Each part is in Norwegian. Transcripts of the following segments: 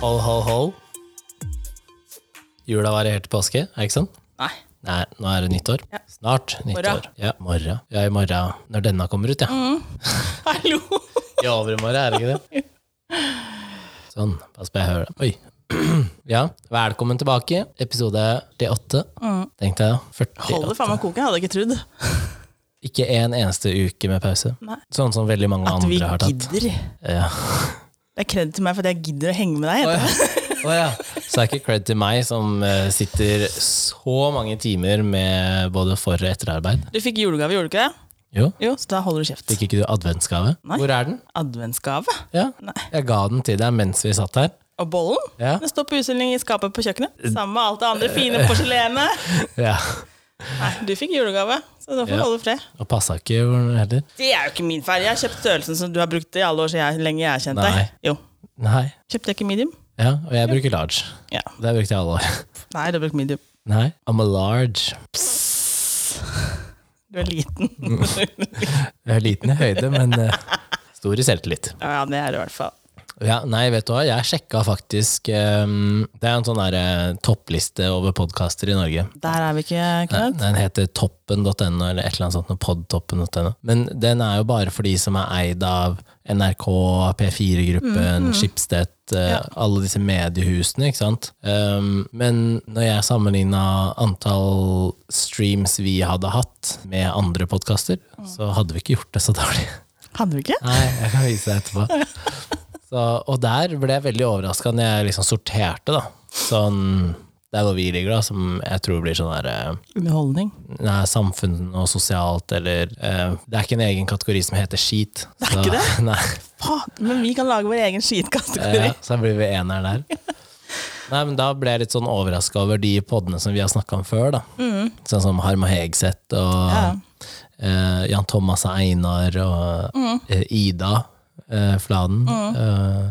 Ho, ho, ho. Jula varer helt til påske, er det ikke sant? Nei. Nei, nå er det nyttår. Ja. Snart Morgen. nyttår. Ja, morgen. Ja, i morgen. Når denne kommer ut, ja. Mm. Hallo! I overmorgen, er det ikke det? Sånn. Pass på jeg hører det. Oi. Ja, velkommen tilbake. Episode 48. Tenk deg, da. Holder 48. Mm. faen meg koken, jeg hadde ikke trodd. Ikke en eneste uke med pause. Nei. Sånn som veldig mange At vi andre har tatt. gidder. Ja. Det er kred til meg for at jeg gidder å henge med deg. heter det. Å ja. Så det er ikke cred til meg som eh, sitter så mange timer med både for- og etterarbeid. Du fikk julegave, gjorde du ikke det? Jo. Jo, så da holder du kjeft. Fikk ikke du adventsgave? Nei. Hvor er den? Adventsgave. Ja. Jeg ga den til deg mens vi satt her. Og bollen? Ja. Eh. Den står på utstilling i skapet på kjøkkenet. Sammen med alt det andre fine porselenet. ja. Nei, du fikk julegave, så da får du Ja. holde fred. Og passa ikke hvor den heller. Det er jo ikke min feil. Jeg har kjøpt størrelsen som du har brukt i alle år siden jeg, lenge jeg har kjent Nei. deg. Jo. Nei. Kjøpte jeg ikke medium? Ja, og jeg bruker large. Ja. Det har jeg brukt i alle år. Nei, du har brukt medium. Nei, I'm a large. Du er liten. Jeg er liten i høyde, men eh, stor i selvtillit. Ja, det er du i hvert fall. Ja, nei, vet du hva, jeg sjekka faktisk ehm, Det er en sånn der, eh, toppliste over podkaster i Norge. Der er vi ikke, Nei, Knut. Den heter toppen.no eller et eller annet sånt, noe podtoppen.no. Men den er jo bare for de som er eid av NRK, P4-gruppen, Schibsted, eh, alle disse mediehusene, ikke sant. Um, men når jeg sammenligna antall streams vi hadde hatt med andre podkaster, så hadde vi ikke gjort det så dårlig. Hadde vi ikke? Nei, jeg kan vise deg etterpå. Så, og der ble jeg veldig overraska når jeg liksom sorterte, da. Sånn der hvor vi ligger, da, som jeg tror blir sånn der eh, Underholdning. Nei, samfunn og sosialt eller eh, Det er ikke en egen kategori som heter skit. Det er så, ikke det? Nei, Faen, men vi kan lage vår egen skitkategori. eh, så da blir vi eneren der. Nei, men Da ble jeg litt sånn overraska over de podene som vi har snakka om før. da. Sånn som Harma Hegseth og Ja. eh, Jan Thomas og Einar og eh, Ida eh, Fladen. eh,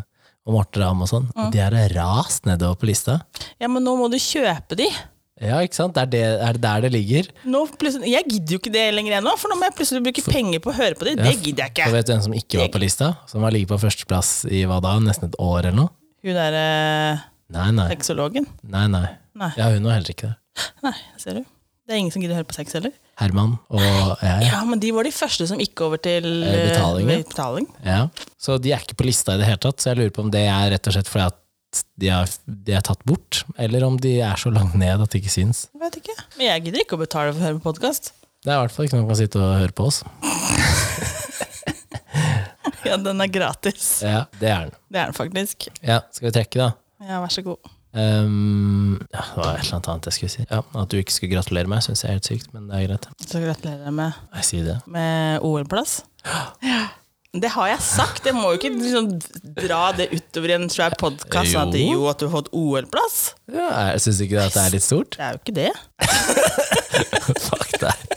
og Morten Ramm og sånn. De er rast nedover på lista. Ja, men nå må du kjøpe de. Ja, ikke sant? Det er, det, er det der det ligger? Nå plutselig- jeg gidder jo ikke det lenger ennå, for nå må jeg plutselig bruke penger på å høre på de. Det gidder jeg Så ikke. vet du en som ikke var på lista? Som har ligget på førsteplass i hva da, nesten et år eller noe? Hun derre Nei, nei. sexologen. nei, nei. Nei. Ja, hun var heller ikke det. Nei, ser du. Det er ingen som gidder å høre på sex heller. Herman og jeg. Ja, men de var de første som gikk over til Eh, betaling, eh, ja. betaling. Ja. Så de er ikke på lista i det hele tatt, så jeg lurer på om det er rett og slett fordi at de er, de er tatt bort, eller om de er så langt ned at det ikke syns. Jeg Vet ikke. Men jeg gidder ikke å betale for å høre på podkast. Det er i hvert fall ikke noen som kan sitte og høre på oss. Ja, den er gratis. Ja, det er den. Det er den faktisk. Ja, skal vi trekke, da? Ja, vær så god. Ehm, ja, det var et eller annet annet jeg skulle si. Ja, At du ikke skulle gratulere meg, syns jeg er helt sykt, men det er greit. Så gratulerer jeg med, Jeg sier det. med OL-plass. Det har jeg sagt. Jeg må jo ikke liksom dra det utover i en svær podkast. Sånn at, Jo. jo, at du har fått OL-plass. Ja, jeg Syns ikke det at det er litt stort? Det er jo ikke det. Fuck deg.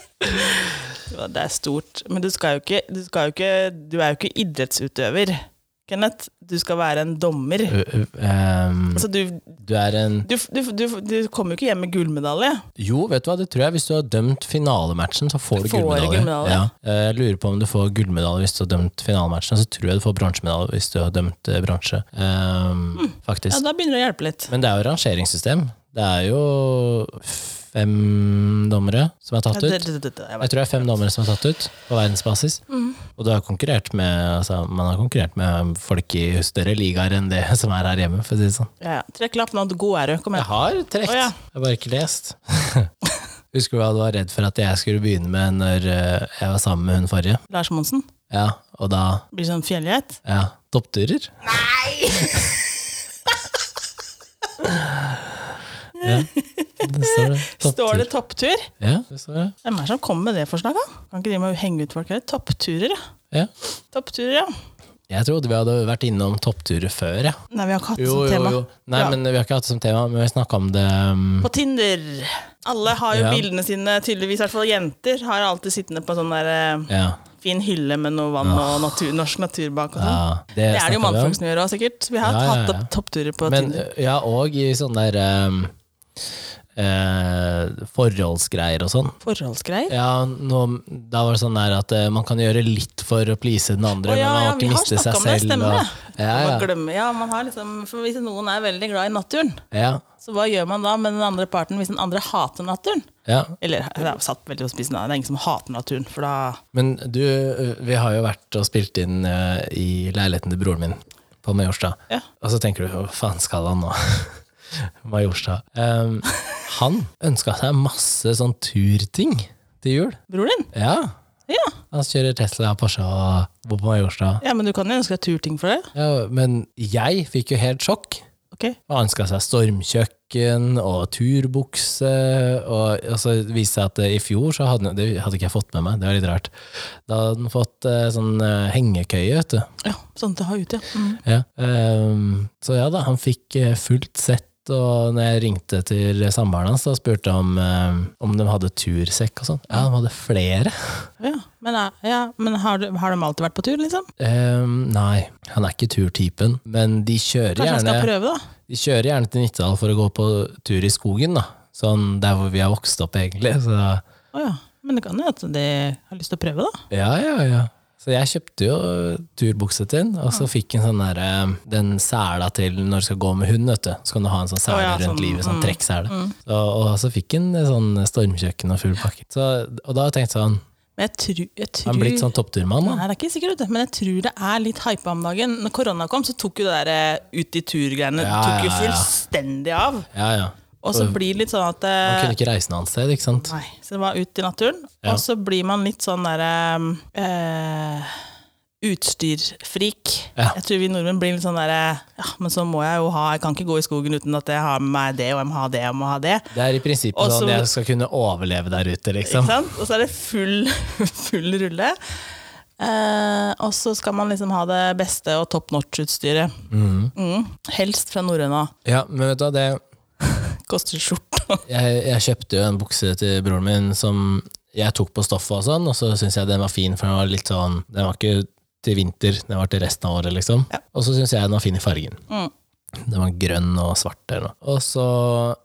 Ja, Det er stort. Men du skal jo ikke Du, skal jo ikke, du er jo ikke idrettsutøver, Kenneth. Du skal være en dommer. Ø- ø- Øh, ehm, Altså, du, du er en du, du, du, du kommer jo ikke hjem med gullmedalje. Jo, vet du hva, det tror jeg. Hvis du har dømt finalematchen, så får du Får du gullmedalje. gullmedalje? Ja. Eh, Jeg lurer på om du får gullmedalje hvis du har dømt finalematchen. Så tror jeg du får bronsemedalje hvis du har dømt eh, bronse. Ehm, Faktisk. Mm. Ja, da begynner det å hjelpe litt. Men det er jo rangeringssystem. Det er jo fem dommere som er Ja, tatt det, ut. det, det, det, jeg Jeg tror det er fem dommere som er tatt ut på verdensbasis. Mm. Og du har konkurrert med, altså, man har konkurrert med folk i større ligaer enn det som er her hjemme. For å si det sånn. Ja, ja. Trekk lappen av god ære. Kom Jeg igjen. har trekt. Å, ja. Jeg har bare ikke lest. Husker du hva du var redd for at jeg skulle begynne med når eh, jeg var sammen med hun forrige? Lars Monsen. Ja, og da Blir sånn fjellgeit. ja, toppturer? Nei! ja, det står det. Står Topptur. det topptur? Ja, det står det. Hvem er det som kommer med det forslaget? Kan ikke de med å henge ut folk her? Toppturer, ja. Ja. Toppturer, ja. Jeg trodde vi hadde vært innom toppturer før, ja. Nei, vi har ikke hatt Jo, sånt jo, tema. jo. Nei, Ja. men vi har ikke hatt det som tema, men vi snakka om det um, På Tinder. Alle har jo Ja. bildene sine, tydeligvis, i hvert fall jenter, har alltid sittende på sånn der eh, Ja. fin hylle med noe vann og natur, norsk natur bak og Ah. ja sånn. Det er det jo snakket vi om. mannfolk som gjør òg, sikkert. Vi har Ja, eh, ja, hatt ja. opp toppturer på Men Tinder. ja, og i sånne der um, ehm, eh, forholdsgreier og sånn. Forholdsgreier? Ja, nå, da var det sånn der at eh, man kan gjøre litt for å please den andre, Å, ja, men man ja, må vi ikke har miste seg snakket om det, selv. stemmer og, ja, Man ja, glemmer, ja, man har liksom, for Hvis noen er veldig glad i naturen, ja, så hva gjør man da med den andre parten hvis den andre hater naturen? ja. Eller jeg har satt veldig på spissen, da. det er ingen som hater naturen, for da Men du, eh, vi har jo vært og spilt inn eh, i leiligheten til broren min på Majorstad. Ja. Og så tenker du, hva faen skal han nå? Majorstad. Em, han ønska seg masse sånn turting til jul. Bror din? Ja. Ja. Han kjører Tesla, Porsche og bor på Majorstad. ja, men du kan jo ønske deg turting for det. Ja, men jeg fikk jo helt sjokk. Ok? Og ønska seg stormkjøkken og turbukse. Og, og så viste det seg at eh, i fjor så hadde den- det hadde ikke jeg fått med meg, det var litt rart. Da hadde den fått eh, sånn eh, hengekøye, vet du. Ja, sånn til å ha ute, ja. Mm. Ja. ehm, så ja da, han fikk eh, fullt sett, og når jeg ringte til samboeren hans da spurte jeg om, ehm, om de hadde tursekk og sånn, ja, de hadde flere. ja. Men, eh, ja, men har, du, har de alltid vært på tur, liksom? Ehm, nei, han er ikke turtypen, men de kjører, Kanskje han skal gjerne, prøve, da? de kjører gjerne til Nittedal for å gå på tur i skogen, da. Sånn der hvor vi har vokst opp, egentlig. Så Å ja. Men det kan jo at de har lyst til å prøve, da. ja, ja, ja. Så jeg kjøpte jo turbukse til den, og så Ah. fikk en sånn der, eh, den sela til når du skal gå med hund, vet du. Så kan du ha en sånn sele Å ja, rundt sånn, livet, sånn mm, trekksele. Så, og så fikk han eh, sånn stormkjøkken og full pakke. Så, og da har jeg tenkt sånn, Men jeg tror, jeg tror har han blitt sånn toppturmann da? Nei, det er ikke sikkert, men jeg tror det er litt hypa om dagen. Når korona kom, så tok jo det der eh, ut i tur-greiene Ja, tok ja, jo ja. fullstendig av. Ja, ja. Og så blir det litt sånn at Han eh, kunne ikke reise noe annet sted, ikke sant? Nei, så det var ut i naturen. Ja. Og så blir man litt sånn derre eh, Utstyrfrik. Ja. Jeg tror vi nordmenn blir litt sånn derre Ja, men så må jeg jo ha Jeg kan ikke gå i skogen uten at jeg har med meg det, og jeg må ha det, og jeg må ha det. Det er i prinsippet Og så- sånn jeg skal kunne overleve der ute, Ikke liksom. sant? Og så er det full, full rulle. Eh, og så skal man liksom ha det beste og top notch-utstyret. Mm. Helst fra norrøna. Ja, men vet du hva, det, Koster skjorta. jeg, jeg kjøpte jo en bukse til broren min som jeg tok på stoffet og sånn, og så syntes jeg den var fin, for den var litt sånn Den var ikke til vinter, den var til resten av året, liksom. Og så syntes jeg den var fin i fargen. Mm. Den var grønn og svart eller noe. Og så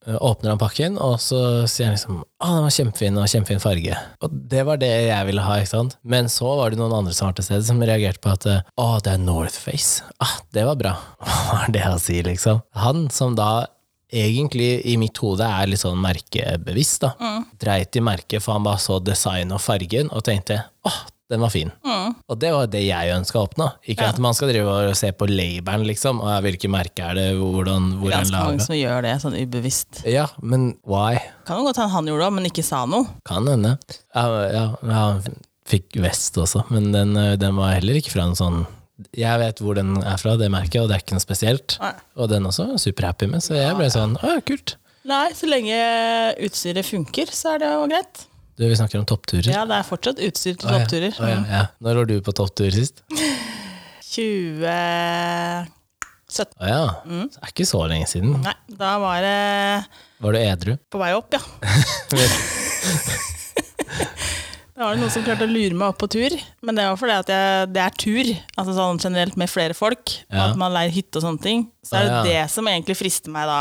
ø, åpner han pakken, og så sier han liksom Å, den var kjempefin, og kjempefin farge. Og det var det jeg ville ha, ikke sant. Men så var det noen andre som var til stede, som reagerte på at Å, det er Northface. Ah, det var bra. Hva er det han sier, liksom? Han som da egentlig i mitt hode er litt sånn merkebevisst, da. Dreit i merket, for han bare så design og fargen, og tenkte åh, den var fin. Og det var det jeg ønska å oppnå. Ikke at man skal drive og se på labelen, liksom. Og hvilke merker er det, hvordan, hvor er Ganske mange laga? som gjør det sånn ubevisst. Ja, men why? Kan jo godt hende han gjorde det, men ikke sa noe. Kan hende. Ja, ja, ja, han fikk vest også, men den, ø, den var heller ikke fra en sånn jeg vet hvor den er fra, det merket, og det er ikke noe spesielt. Nei. Og den også er jeg superhappy med, så jeg ble sånn å ja, kult. Nei, så lenge utstyret funker, så er det jo greit. Du, vi snakker om toppturer. Ja, det er fortsatt utstyr til Å, ja. toppturer. Mm. Å, ja, ja. Når var du på topptur sist? 2017. Å ja, det er ikke så lenge siden. Mm. Nei, da var det Var du edru? på vei opp, ja. Da var det noen som klarte å lure meg opp på tur, men det var fordi at jeg, det er tur. Altså sånn generelt med flere folk, og Ja. at man leier hytte og sånne ting. Så er det Ah, ja. det som egentlig frister meg da.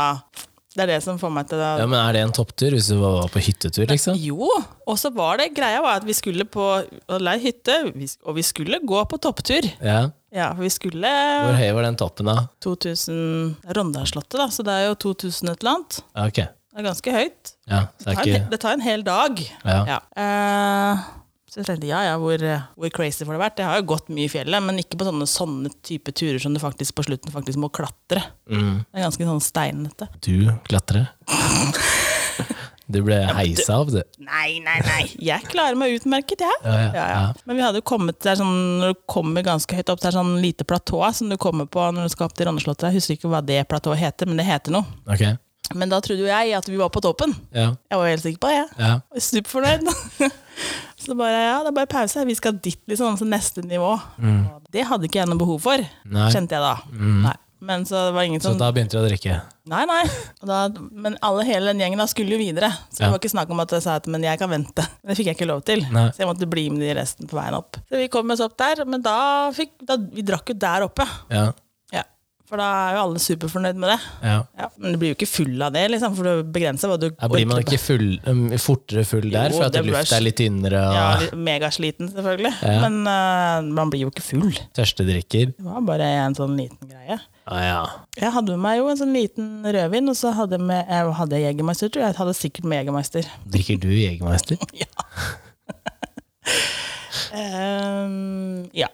Det er det som får meg til å Ja, men Er det en topptur hvis du var på hyttetur, liksom? Jo, og så var det greia var at vi skulle på å leie hytte, vi sk- og vi skulle gå på topptur. Ja. Ja, for vi skulle Hvor høy var den toppen, da? 2000 Rondalsslottet, da, så det er jo 2000 et eller annet. Ja, Ok. Det er ganske høyt. Ja, så det Det er tar, en, ikke he- det tar en hel dag. Ja. Ja. Eh, så jeg tenkte ja, ja, hvor, hvor crazy får det vært? Jeg har jo gått mye i fjellet, men ikke på sånne, sånne type turer som du faktisk på slutten faktisk må klatre. Mm. Det er ganske sånn steinete. Du klatrer? Du ble heisa av, du. Nei, nei, nei! Jeg klarer meg utmerket, jeg. Ja, ja, Ja, ja. Men vi hadde jo kommet der sånn, når du kommer ganske høyt opp, så er det sånn lite platå som du kommer på når du skal opp til Rondeslottet. Jeg husker ikke hva det platået heter, men det heter noe. Ok. Men da trodde jo jeg at vi var på toppen. Ja, Jeg var helt sikker på det. jeg. ja. Superfornøyd. så bare ja, det er bare pause, her, vi skal dit, liksom. Så neste nivå. Det hadde ikke jeg noe behov for, Mm. Nei. Mm. kjente jeg da. Nei. Men så det var ingen Så som da begynte du å drikke? Nei, nei. Og da, men alle hele den gjengen da skulle jo videre. Så det Ja. var ikke snakk om at jeg sa at men jeg kan vente. Det fikk jeg ikke lov til. Nei. Så jeg måtte bli med de resten på veien opp. Så vi kom oss opp der, men da fikk da, Vi drakk jo der oppe. Ja. Ja. For da er jo alle superfornøyd med det. Ja. Ja, men du blir jo ikke full av det, liksom, for du begrenser hva du Ja, blir man ikke full, um, fortere full der, Jo, for at det blir- lufta er litt tynnere og Ja, litt megasliten, selvfølgelig. Ja. Men eh, man blir jo ikke full. tørstedrikker? Det var bare en sånn liten greie. Ja, ja. Jeg hadde med meg jo en sånn liten rødvin, og så hadde jeg, med, jeg hadde Jegermeister, tror jeg. Jeg hadde sikkert med Jegermeister. Drikker du Jegermeister? Ehm, ja.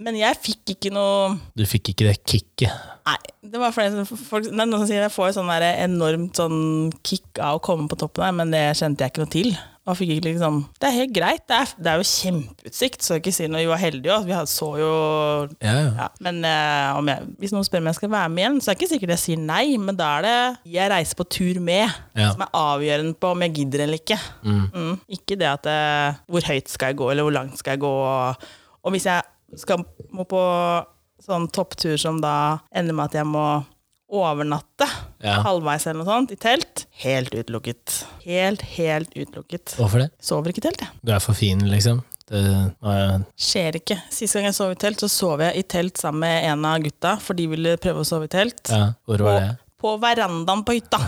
Men jeg fikk ikke noe Du fikk ikke det kicket. Nei. Det var flere som- folk, det er noen som sier jeg får jo sånn der enormt sånn kick av å komme på toppen her, men det kjente jeg ikke noe til. Og fikk ikke liksom, det er helt greit. Det er, det er jo kjempeutsikt, så jeg ikke si noe. Vi var heldige òg. Vi hadde- så jo Ja, ja. ja, Men eh, om jeg, hvis noen spør om jeg skal være med igjen, så er det ikke sikkert jeg sier nei, men da er det jeg reiser på tur med, Ja. som er avgjørende på om jeg gidder eller ikke. Mm. Ikke det at eh, hvor høyt skal jeg gå, eller hvor langt skal jeg gå. Og, og hvis jeg skal, må på sånn topptur som da ender med at jeg må overnatte Ja. halvveis eller noe sånt, i telt, helt utelukket. Helt, helt utelukket. Hvorfor det? Sover ikke i telt, jeg. Du er for fin, liksom. Det, nå er jeg- Skjer ikke. Sist gang jeg sov i telt, så sov jeg i telt sammen med en av gutta, for de ville prøve å sove i telt. ja, hvor var det? På verandaen på hytta.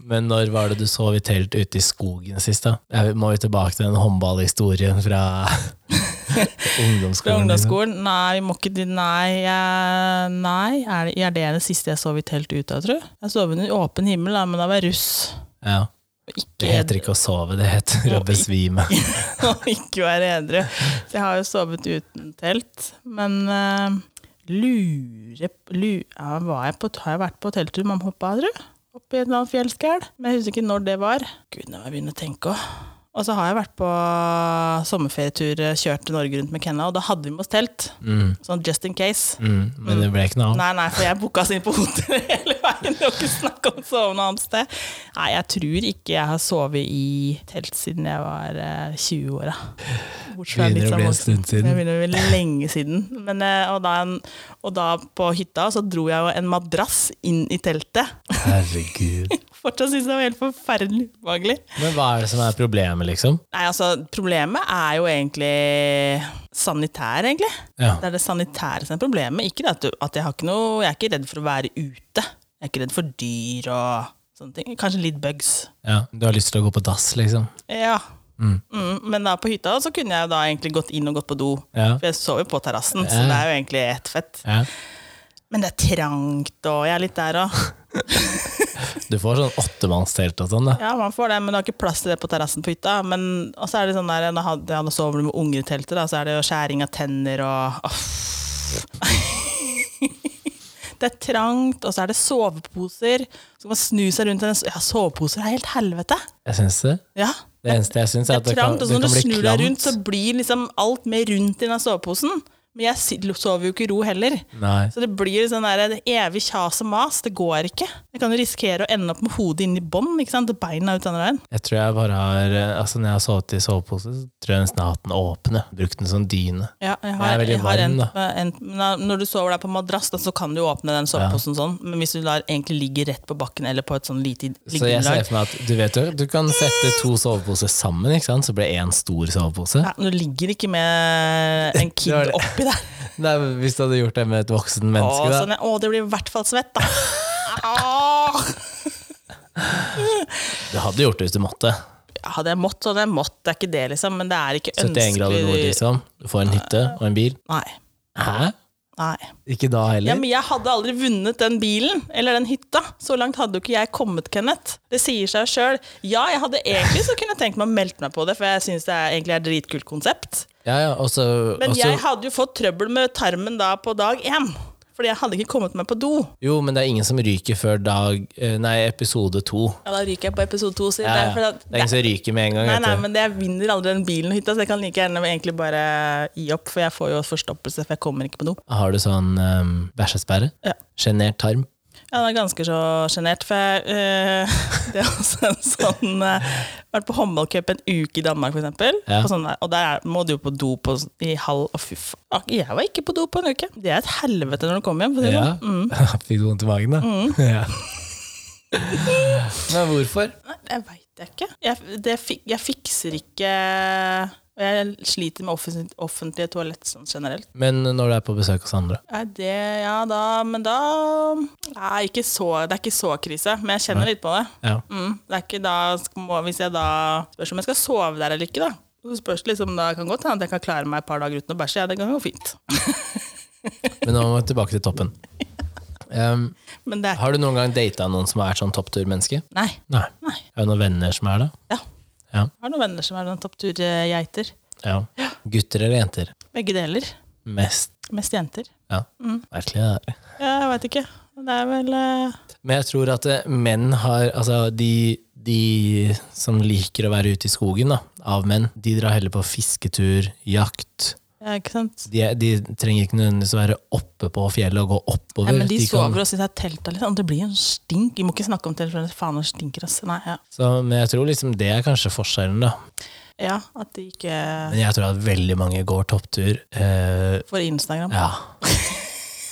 Men når var det du sov i telt ute i skogen sist, da? Jeg må jo tilbake til den håndballhistorien fra Fra ungdomsskolen. liksom. ungdomsskolen. Nei, vi må ikke di- Nei, jeg, nei. Er, det, er det det siste jeg sov i telt ute av, tror jeg? Jeg sov under åpen himmel, da, men da var jeg russ. Ja. Og Det Ikke heter ikke å sove, det heter å besvime. og ikke være edru. Så jeg har jo sovet uten telt. Men eh, lure, lu- ja, var jeg på, Har jeg vært på telttur med mamma og pappa, tror du? Oppi en eller annen fjellskæl. Men jeg husker ikke når det var. Gud, nå må jeg begynne å tenke òg. Og så har jeg vært på sommerferietur, eh, kjørt Norge rundt med Kenna, og da hadde vi med oss telt. Sånn just in case. Mm, men det ble ikke noe av. Nei, nei, for jeg booka oss inn på hotell hele veien. Det var ikke snakk om å sove noe annet sted. Nei, jeg tror ikke jeg har sovet i telt siden jeg var eh, 20-åra. Bortsett fra Begynner litt å sånn bli en voksen. stund siden. Det begynner å bli lenge siden. Men, eh, og, da, og da på hytta så dro jeg jo en madrass inn i teltet. Herregud. Fortsatt syns jeg det var helt forferdelig ubehagelig. Men hva er det som er problemet, liksom? Nei, altså, problemet er jo egentlig sanitær, egentlig. Ja. Det er det sanitære som er problemet. Ikke det at, du, at jeg har ikke noe Jeg er ikke redd for å være ute. Jeg er ikke redd for dyr og sånne ting. Kanskje litt bugs. ja. Du har lyst til å gå på dass, liksom? Ja. Mm, men da på hytta så kunne jeg jo da egentlig gått inn og gått på do. Ja. For jeg sov jo på terrassen, så Ja. det er jo egentlig ett fett. ja. Men det er trangt, og jeg er litt der òg. Du får sånn åttemannstelt og sånn, da. Ja, man får det, men du har ikke plass til det på terrassen på hytta. Men, og så er det sånn der, nå hadde jeg nå sover du med unger i teltet, da, så er det jo skjæring av tenner og åh. Det er trangt, og så er det soveposer. Så kan man snu seg rundt. i den- Ja, soveposer er helt helvete. Jeg syns det. Ja, Det eneste jeg syns, det er er at det kan, trangt, og det så kan når du bli snur deg rundt, klamt. så blir liksom alt mer rundt i den soveposen. Men jeg si- sover jo ikke i ro heller. Nei. Så det blir sånn der, det evig kjas og mas. Det går ikke. Jeg kan jo risikere å ende opp med hodet inni bånd, ikke sant, og beina ut andre veien. Jeg tror jeg bare har eh, Altså Når jeg har sovet i sovepose, så tror jeg nesten jeg har hatt den åpne. Brukt den som dyne. Ja, jeg Jeg har, er veldig jeg har varm, en, da. en, men da- når du sover der på madrass, da, så kan du jo åpne den soveposen sånn. Men hvis du da egentlig ligger rett på bakken eller på et sånn lite Så jeg ser liggeunderlag for meg at du vet jo, du kan sette to soveposer sammen, ikke sant? så blir det én stor sovepose. ja, Du ligger ikke med en kid var det. oppi der. Nei, men Hvis du hadde gjort det med et voksen Å, menneske, da. sånn, ja. å, det blir i hvert fall svett, da. Ah! Åh! Du hadde gjort det hvis du måtte. Ja, hadde jeg mått, så hadde jeg mått. Det er ikke det, liksom. Men det er ikke 71 grader nord, ønskelig. liksom. Du får en hytte og en bil. Nei. Hæ? Nei. Ikke da Ja, heller? men jeg hadde aldri vunnet den bilen, eller den hytta. Så langt hadde jo ikke jeg kommet, Kenneth. Det sier seg sjøl. Ja, jeg hadde egentlig så kunne jeg tenkt meg å melde meg på det, for jeg syns det er, egentlig er et dritkult konsept. Ja, ja, og så Men og så- jeg hadde jo fått trøbbel med tarmen da på dag én. Fordi jeg hadde ikke kommet meg på do. Jo, men det er ingen som ryker før dag eh, Nei, episode to. Ja, Da ryker jeg på episode to. sier Ja, jeg, ja. for Det er ingen som ryker med en gang. Nei, vet nei, du. men jeg vinner aldri den bilen og hytta, så jeg kan like gjerne egentlig bare gi opp, for jeg får jo forstoppelse, for jeg kommer ikke på do. Har du sånn um, bæsjesperre? Ja. Sjenert tarm? Ja, det er ganske så sjenert, for jeg, eh, det er også en sånn uh, Vært på håndballcup en uke i Danmark, for eksempel. Ja. Og, sånn der, og der er- må du jo på do på, s- i halv og fy faen. Jeg var ikke på do på en uke. Det er et helvete når du kommer hjem. For å si det Ja. sånn. Fikk du vondt i magen, da? Ja. Men hvorfor? Nei, jeg veit jeg ikke. Jeg, det, fik- jeg fikser ikke Og jeg sliter med offentlige, offentlige toalett sånn generelt. Men når du er på besøk hos andre? Er det Ja, da Men da Nei, ikke så, Det er ikke så krise, men jeg kjenner litt på det. Ja. Mm, det er ikke da sk- må, Hvis jeg da spørs om jeg skal sove der eller ikke, da. Så spørs det liksom, da kan godt hende at jeg kan klare meg et par dager uten å bæsje. Ja, det kan gå fint. Men nå må vi tilbake til toppen. Em, Men det er har du noen gang data noen som har vært sånn toppturmenneske? ikke Nei. Nei. Nei. Er det noen venner som er det? Ja. Ja. Jeg har noen venner som er noen toppturgeiter. ja. Gutter eller jenter? Begge deler. Mest. Mest jenter. Ja. Merkelig det der. Ja, Jeg veit ikke. Det er vel eh, Men jeg tror at eh, menn har Altså, de, de som liker å være ute i skogen, da, av menn, de drar heller på fisketur, jakt. ja, Ikke sant? De, de trenger ikke nødvendigvis å være oppe på fjellet og gå oppover. Ja, men de, kan- sover og syns det er telt og litt sånn. Det blir jo en stink. Vi må ikke snakke om telt, for faen, det stinker, ass. Nei, ja. så, men jeg tror liksom det er kanskje forskjellen, da. Ja, at de ikke Men jeg tror at veldig mange går topptur. Eh, får Instagram. ja.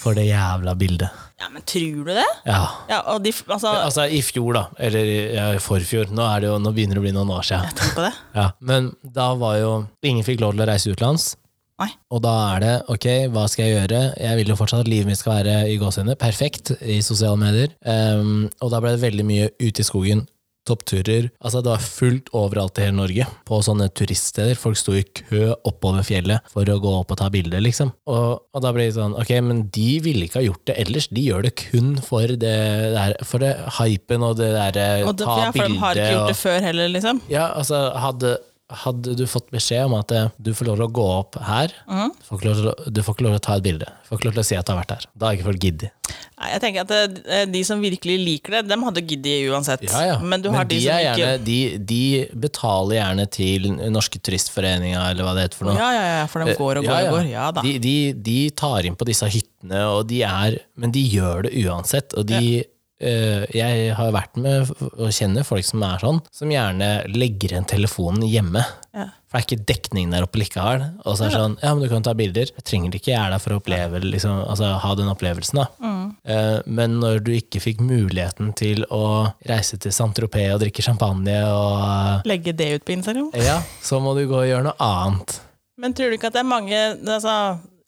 For det jævla bildet. Ja, men tror du det? Ja. Ja, og de, f- altså, Altså, i fjor, da. Eller ja, i forfjor. Nå, er det jo, nå begynner det å bli noen år siden. jeg tenker på det. Ja, men da var jo Ingen fikk lov til å reise utenlands. Nei. Og da er det ok, hva skal jeg gjøre? Jeg vil jo fortsatt at livet mitt skal være i gåsehudet perfekt i sosiale medier. Ehm, og da ble det veldig mye ute i skogen. Toppturer. Altså Det var fullt overalt i hele Norge. På sånne turiststeder. Folk sto i kø oppover fjellet for å gå opp og ta bilder, liksom. Og, og da blir det sånn Ok, men de ville ikke ha gjort det ellers. De gjør det kun for det der For det hypen og det derre Og det, ta ja, for de har bilde ikke gjort og det før heller, liksom. ja, altså, hadde, hadde du fått beskjed om at eh, du får lov til å gå opp her, Mhm. du, får ikke lov til, å- du får ikke lov til å ta et bilde, du får ikke lov til å si at du har vært her. Da har ikke folk giddet. Nei, jeg tenker at eh, de som virkelig liker det, dem hadde giddet uansett. Ja, ja. Men du har de, som er ikke gjerne, de, de betaler gjerne til Norske Turistforeninga, eller hva det heter for noe. Ja, ja, ja, for de går og går Eh, Ja, ja. og går. Ja da. De, de, de tar inn på disse hyttene, og de er, men de gjør det uansett. Og de, eh, jeg har vært med og kjenner folk som er sånn, som gjerne legger igjen telefonen hjemme. Ja. For det er ikke dekning der oppe likevel. Og så er det sånn, ja, men du kan ta bilder. Jeg trenger det ikke, jeg er der for å oppleve, liksom, altså, ha den opplevelsen. da. Mm. Eh, men når du ikke fikk muligheten til å reise til Saint-Tropez og drikke champagne og Legge det ut på Instagram. eh, ja, så må du gå og gjøre noe annet. Men tror du ikke at det er mange altså,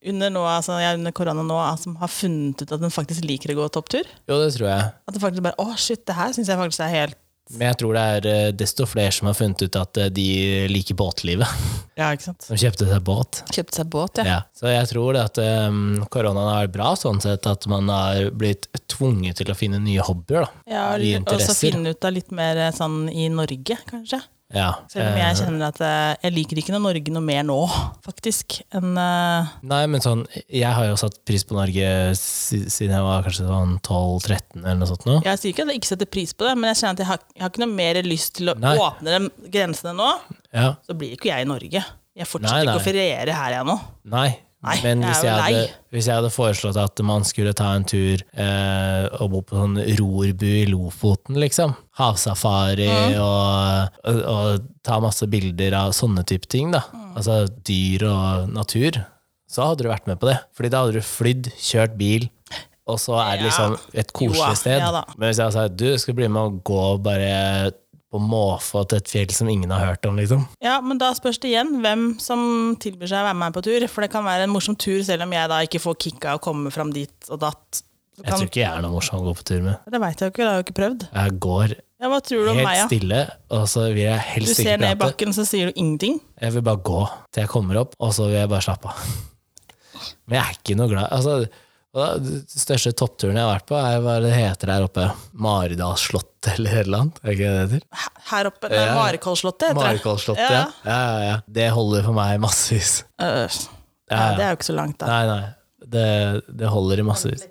under, nå, altså, ja, under korona nå altså, som har funnet ut at de faktisk liker å gå topptur? Jo, det tror jeg. At de faktisk bare Å, shit, det her syns jeg faktisk er helt Men jeg tror det er eh, desto flere som har funnet ut at eh, de liker båtlivet. Ja, ikke sant? Som kjøpte seg båt. Kjøpte seg båt, ja. Ja. Så jeg tror det at um, koronaen har vært bra, sånn sett at man har blitt tvunget til å finne nye hobbyer. Da. ja Nye og så interesser. finne ut av litt mer eh, sånn i Norge, kanskje. Ja. Selv om jeg kjenner at eh, jeg liker ikke noe Norge noe mer nå, faktisk, enn eh, Nei, men sånn, jeg har jo satt pris på Norge si- siden jeg var kanskje sånn 12-13 eller noe sånt nå. Jeg sier ikke at jeg ikke setter pris på det, men jeg kjenner at jeg har, jeg har ikke noe mer lyst til å Nei. åpne de grensene nå. Ja. Så blir ikke jeg i Norge. Nei, Jeg fortsetter nei. ikke å feriere her, jeg nå. Nei. Nei, men jeg er hvis jo jeg, hadde, lei. hvis jeg hadde foreslått at man skulle ta en tur eh, og bo på sånn rorbu i Lofoten, liksom. Havsafari Mm. og, og, og ta masse bilder av sånne type ting, da. Mm. Altså dyr og natur. Så hadde du vært med på det. Fordi da hadde du flydd, kjørt bil, og så er det liksom et koselig Jo da, sted. ja da. Men hvis jeg hadde sagt du skal bli med og gå bare på måfå til et fjell som ingen har hørt om, liksom. Ja, men da spørs det igjen hvem som tilbyr seg å være med meg på tur. For det kan være en morsom tur, selv om jeg da ikke får kick av å komme fram dit og datt. Så Jeg kan, tror ikke jeg er noe morsom å gå på tur med. Det veit jeg jo ikke, det har jeg jo ikke prøvd. Jeg går Ja, hva tror du om helt meg, da? stille, og så vil jeg Du helst ser ikke ned i prate. bakken, så sier du ingenting. Jeg vil bare gå til jeg kommer opp, og så vil jeg bare slappe av. Men jeg er ikke noe glad altså, og da- Den største toppturen jeg har vært på, er hva det heter der oppe. Maridals slott, eller et eller annet. Er ikke det det heter? Her- Her oppe. Ja. Ja. Marekollslottet, heter det. Marikolsslottet, ja. Ja. Ja, ja, ja. Det holder for meg massevis. Øh, ja, Ja, ja. det er jo ikke så langt, da. Nei, nei. Det, det holder i massevis.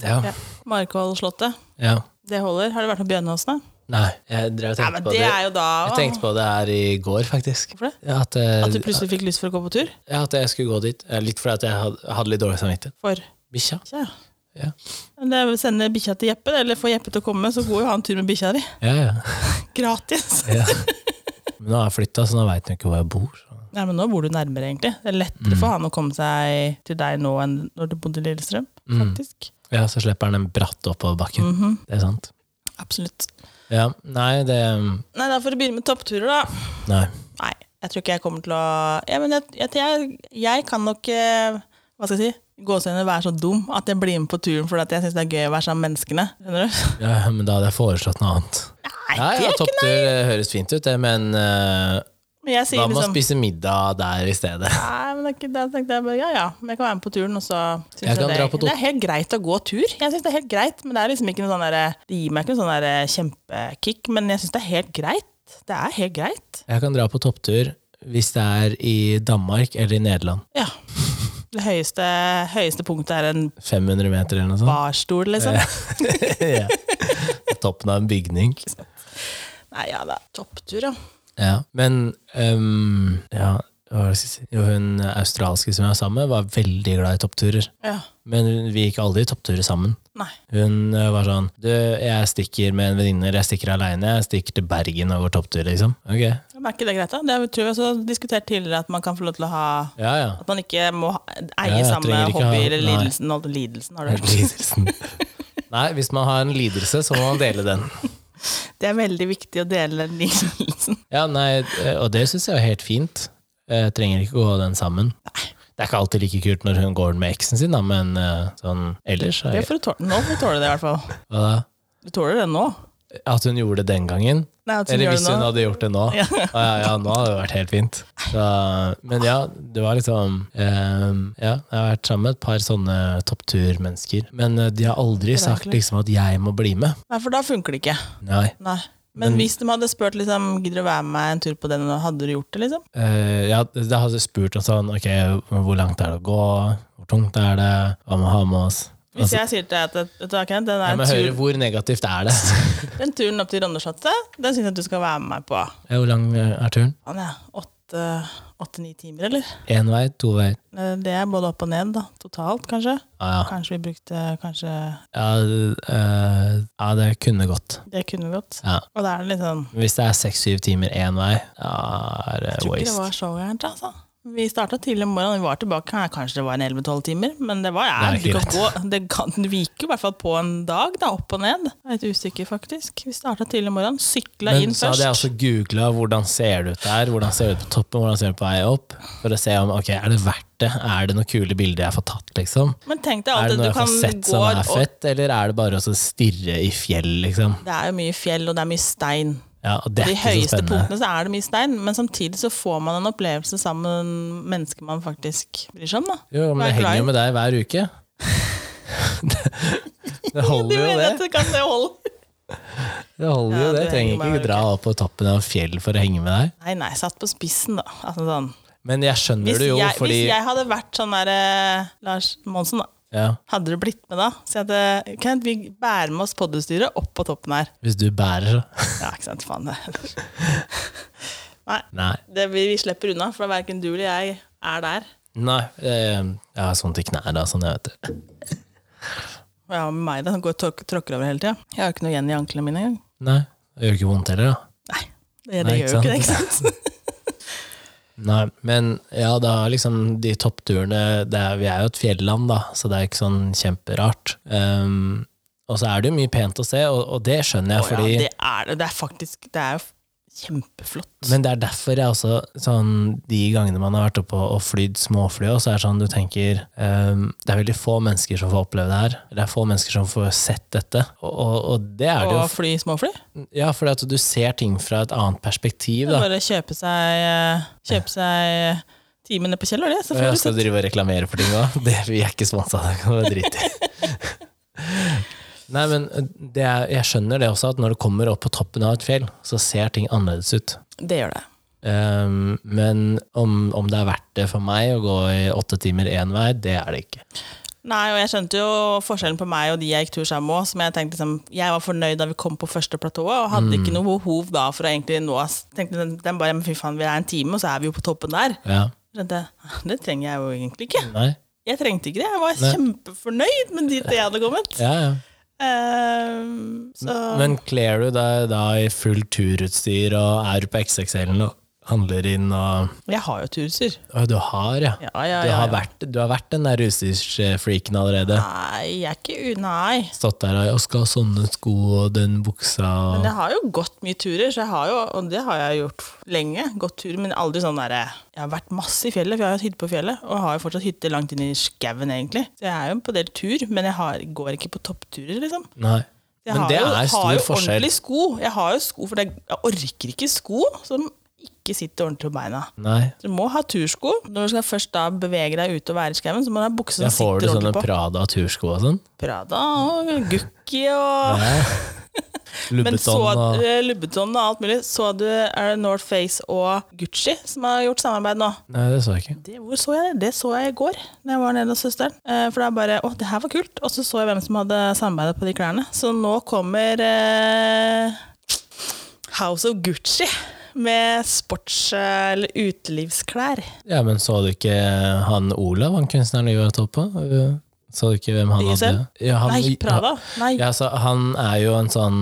Ja. Marekollslottet. ja. Det holder. Har du vært på Bjørnåsene? Nei, jeg drev og Nei, tenkte men på det det. er jo da Jeg tenkte på det her i går, faktisk. Hvorfor det? Ja, At, eh, At du plutselig fikk lyst for å gå på tur? ja, at jeg skulle gå dit. Eh, Litt fordi at jeg hadde, hadde litt dårlig samvittighet. For Bikkja. bikkja. Ja. Men Det er å sende bikkja til Jeppe, eller få Jeppe til å komme, så går jo han tur med bikkja di. Ja, ja. Gratis! ja. Men nå har jeg flytta, så nå veit hun ikke hvor jeg bor. Så. Nei, men nå bor du nærmere, egentlig. Det er lettere Mm. for han å komme seg til deg nå enn når du bodde i Mm. Lillestrøm, faktisk. Mhm. Ja, så slipper han den bratt oppover bakken. Det er sant. Absolutt. Ja, nei, det Nei, da får du begynne med toppturer, da. Nei. Nei, jeg tror ikke jeg kommer til å ja, men jeg, jeg, jeg, jeg kan nok eh, Hva skal jeg si? Gåsehudene være så dum at jeg blir med på turen fordi at jeg syns det er gøy å være sammen med menneskene. Skjønner du? Ja, men da hadde jeg foreslått noe annet. Nei, Nei, det ja, er ikke Topptur eh, høres fint ut, det, men eh, Men jeg hva sier med å liksom spise middag der i stedet? Nei, men det er ikke det. Jeg tenkte jeg bare, ja ja, men jeg kan være med på turen, og så Jeg syns jeg, kan det, dra på er- det er helt greit å gå tur. Jeg syns det er helt greit, men det er liksom ikke noe sånn derre Det gir meg ikke noe sånn derre kjempekick, men jeg syns det er helt greit. Det er helt greit. Jeg kan dra på topptur hvis det er i Danmark eller i Nederland. Ja. Det høyeste, høyeste punktet er en 500 meter eller noe sånt. barstol, liksom. ja. Toppen av en bygning. Nei, ja da. Topptur, ja. Ja. Men ehm, ja, hva var det jeg skulle si? Jo, hun australske som jeg var sammen med, var veldig glad i toppturer. ja. Men vi gikk aldri toppturer sammen. Nei. Hun eh, var sånn Du, jeg stikker med en venninne, eller jeg stikker aleine. Jeg stikker til Bergen og går topptur, liksom. Ok. Men er ikke det greit, da? Det tror jeg også har diskutert tidligere, at man kan få lov til å ha Ja, ja. At man ikke må ha- Ja, eie jeg samme trenger ikke hobby ha- eller nei. lidelsen. Nei. lidelsen har du. hørt. Lidelsen. Nei, hvis man har en lidelse, så må man dele den. Det er veldig viktig å dele den lidelsen. Ja, nei, eh, Og det syns jeg er helt fint. Jeg trenger ikke gå den sammen. Det er ikke alltid like kult når hun går den med eksen sin, da, men eh, sånn ellers er Det får du tåle. Nå får du tåle det, i hvert fall. Hva da? Du tåler det nå. At hun gjorde det den gangen? Nei, at hun Eller gjør hvis det hun nå. hadde gjort det nå? Ja. Ja, ja, ja nå hadde det vært helt fint. Så, men ja, det var liksom eh, Ja, jeg har vært sammen med et par sånne toppturmennesker. Men eh, de har aldri sagt liksom at 'jeg må bli med'. Nei, for da funker det ikke. Nei. Nei. Men, hvis de hadde spurt liksom, gidder du være med meg en tur på den, og hadde du gjort det, liksom? Eh, ja, da hadde jeg spurt og sånn Ok, hvor langt er det å gå? Hvor tungt er det? Hva må vi ha med oss? Altså, Hvis jeg sier til deg at vet du hva, Kenneth, den, Jeg er må høre tur, hvor negativt er det. den turen opp til Rondeslottet, den syns jeg at du skal være med meg på. Ja, Hvor lang eh, er turen? Sånn, ja. Åtte- Åtte-ni timer, eller? Én vei, to veier. Eh, Det er både opp og ned, da. Totalt, kanskje. Ah, Kanskje vi brukte Kanskje ja. Ja, eh, ja, det kunne gått. Det kunne vi godt. Ja. Og da er det litt sånn Hvis det er seks-syv timer én vei, ja, er det Jeg tror ikke det waste. var så gærent, altså. Vi starta tidlig om morgenen, vi var tilbake her, kanskje det var en 11-12 timer. Men det var ja, Det er du ikke kan gå, det kan, det viker jo i hvert fall på en dag, da. Opp og ned. Jeg er litt usikker, faktisk. Vi starta tidlig om morgenen, sykla Men altså- inn så først. hadde jeg også googla hvordan ser det ut der, hvordan ser det ut på toppen, hvordan ser det ut på vei opp, for å se om ok, er det verdt det, er det noen kule bilder jeg får tatt, liksom? Men tenk Er deg det alltid, noe du jeg kan får sett gå som er og fett, eller er det bare å så stirre i fjell, liksom? Det er jo mye fjell, og det er mye stein. Ja, og det På er de ikke så høyeste spennende. punktene så er det mye stein, men samtidig så får man en opplevelse sammen med mennesker man faktisk bryr seg om, da. Jo, men Vær det henger glad i- jo med deg hver uke. Det, det Du holder jo, mener at det. det kan det holde? Det holder jo Ja, det. du henger Trenger med ikke dra opp på toppen av fjell for å henge med deg. Nei, nei, satt på spissen, da. Altså sånn. Men jeg skjønner Hvis det jo, jeg, fordi hvis jeg hadde vært sånn der eh, Lars Monsen, da. ja, Hadde du blitt med da? Si at eh, Kenneth, vi bærer med oss poddestyret opp på toppen her. Hvis du bærer, så Ja, ikke sant, faen det. Nei. det vi, vi slipper unna, for verken du eller jeg er der. Nei. eh, Jeg har sånt i knærne, sånn jeg vet det. Og ja, med meg da, som går og tråk- tråkker over hele tida. Jeg har jo ikke noe igjen i anklene mine engang. Nei. Det gjør ikke vondt heller, da. Nei, det, det Nei, gjør ikke jo ikke det, ikke sant? Nei, men ja, det er liksom de toppturene det er, Vi er jo et fjelland, da, så det er ikke sånn kjemperart. Ehm, og så er det jo mye pent å se, og, og det skjønner jeg, Å fordi ja, det er det. Det er faktisk Det er jo kjempeflott. Men det er derfor jeg også sånn, De gangene man har vært oppe og, og flydd småfly, også, så er det sånn du tenker ehm, Det er veldig få mennesker som får oppleve det her. Det er få mennesker som får sett dette. Og, og, og det er det Og jo. fly småfly. Ja, fordi at du ser ting fra et annet perspektiv, da. Bare kjøpe seg, eh, kjøpe seg timene på Kjell, og det, Og så får jeg du Eh, skal sett. drive og reklamere for ting òg. Vi er ikke sponsa, det kan du drite i. Nei, men eh, det er, jeg skjønner det også, at når du kommer opp på toppen av et fjell, så ser ting annerledes ut. Det gjør det. Ehm, men om, om det er verdt det for meg å gå i åtte timer én vei, det er det ikke. Nei, og jeg skjønte jo forskjellen på meg og de jeg gikk tur sammen med. Som jeg tenkte liksom, jeg var fornøyd da vi kom på første platået, og Mm. hadde ikke noe behov da for å egentlig nå oss. Tenkte den, den bare, men fy faen, vi er en time, og så er vi jo på toppen der. Ja. Skjønte jeg, det trenger jeg jo egentlig ikke. Nei. Jeg trengte ikke det, jeg var Nei. kjempefornøyd med dit jeg hadde kommet. Ja, ja. Ehm, så Mm. Men kler du deg da i fullt turutstyr og er du på XXL-en og handler inn og Jeg har jo turhuser. Å, du har, ja. Ja, ja, Du ja, har ja. vært, du har vært den der russisk-freaken allerede. Nei, jeg er ikke u... Nei. Stått der og jeg skal ha sånne sko og den buksa Men og jeg har jo gått mye turer, så jeg har jo, og det har jeg gjort lenge. Gått turer, men aldri sånn derre Jeg har vært masse i fjellet, for jeg har hatt hytte på fjellet. Og har jo fortsatt hytte langt inn i skauen, egentlig. Så jeg er jo på del tur, men jeg har, går ikke på toppturer, liksom. Nei. Jeg Men har det jo, er har stor jo forskjell. ordentlige sko. Jeg har jo sko, for jeg, jeg orker ikke sko som ikke sitter ordentlig på beina. Nei. Så du må ha tursko. Når du skal først da bevege deg ute og være i skauen, så må du ha bukse som Der får du sitter sånne ordentlig på. Prada tursko og sånn. Prada og Gucci og Men så, Lubbeton og eh, Lubbeton og alt mulig. Så du er det Northface og Gucci som har gjort samarbeid nå? Nei, det så jeg ikke. Det, hvor så jeg det? Det så jeg i går Når jeg var nede hos søsteren. Eh, for det er bare Å, det her var kult. Og så så jeg hvem som hadde samarbeidet på de klærne. Så nå kommer eh, House of Gucci med sports- eh, eller utelivsklær. Ja, men så du ikke eh, han Olav, han kunstneren du var topp på? Uh, Så du ikke hvem han ISL? hadde? Ja, han, Nei, Prada. Nei. Ja, så han er jo en sånn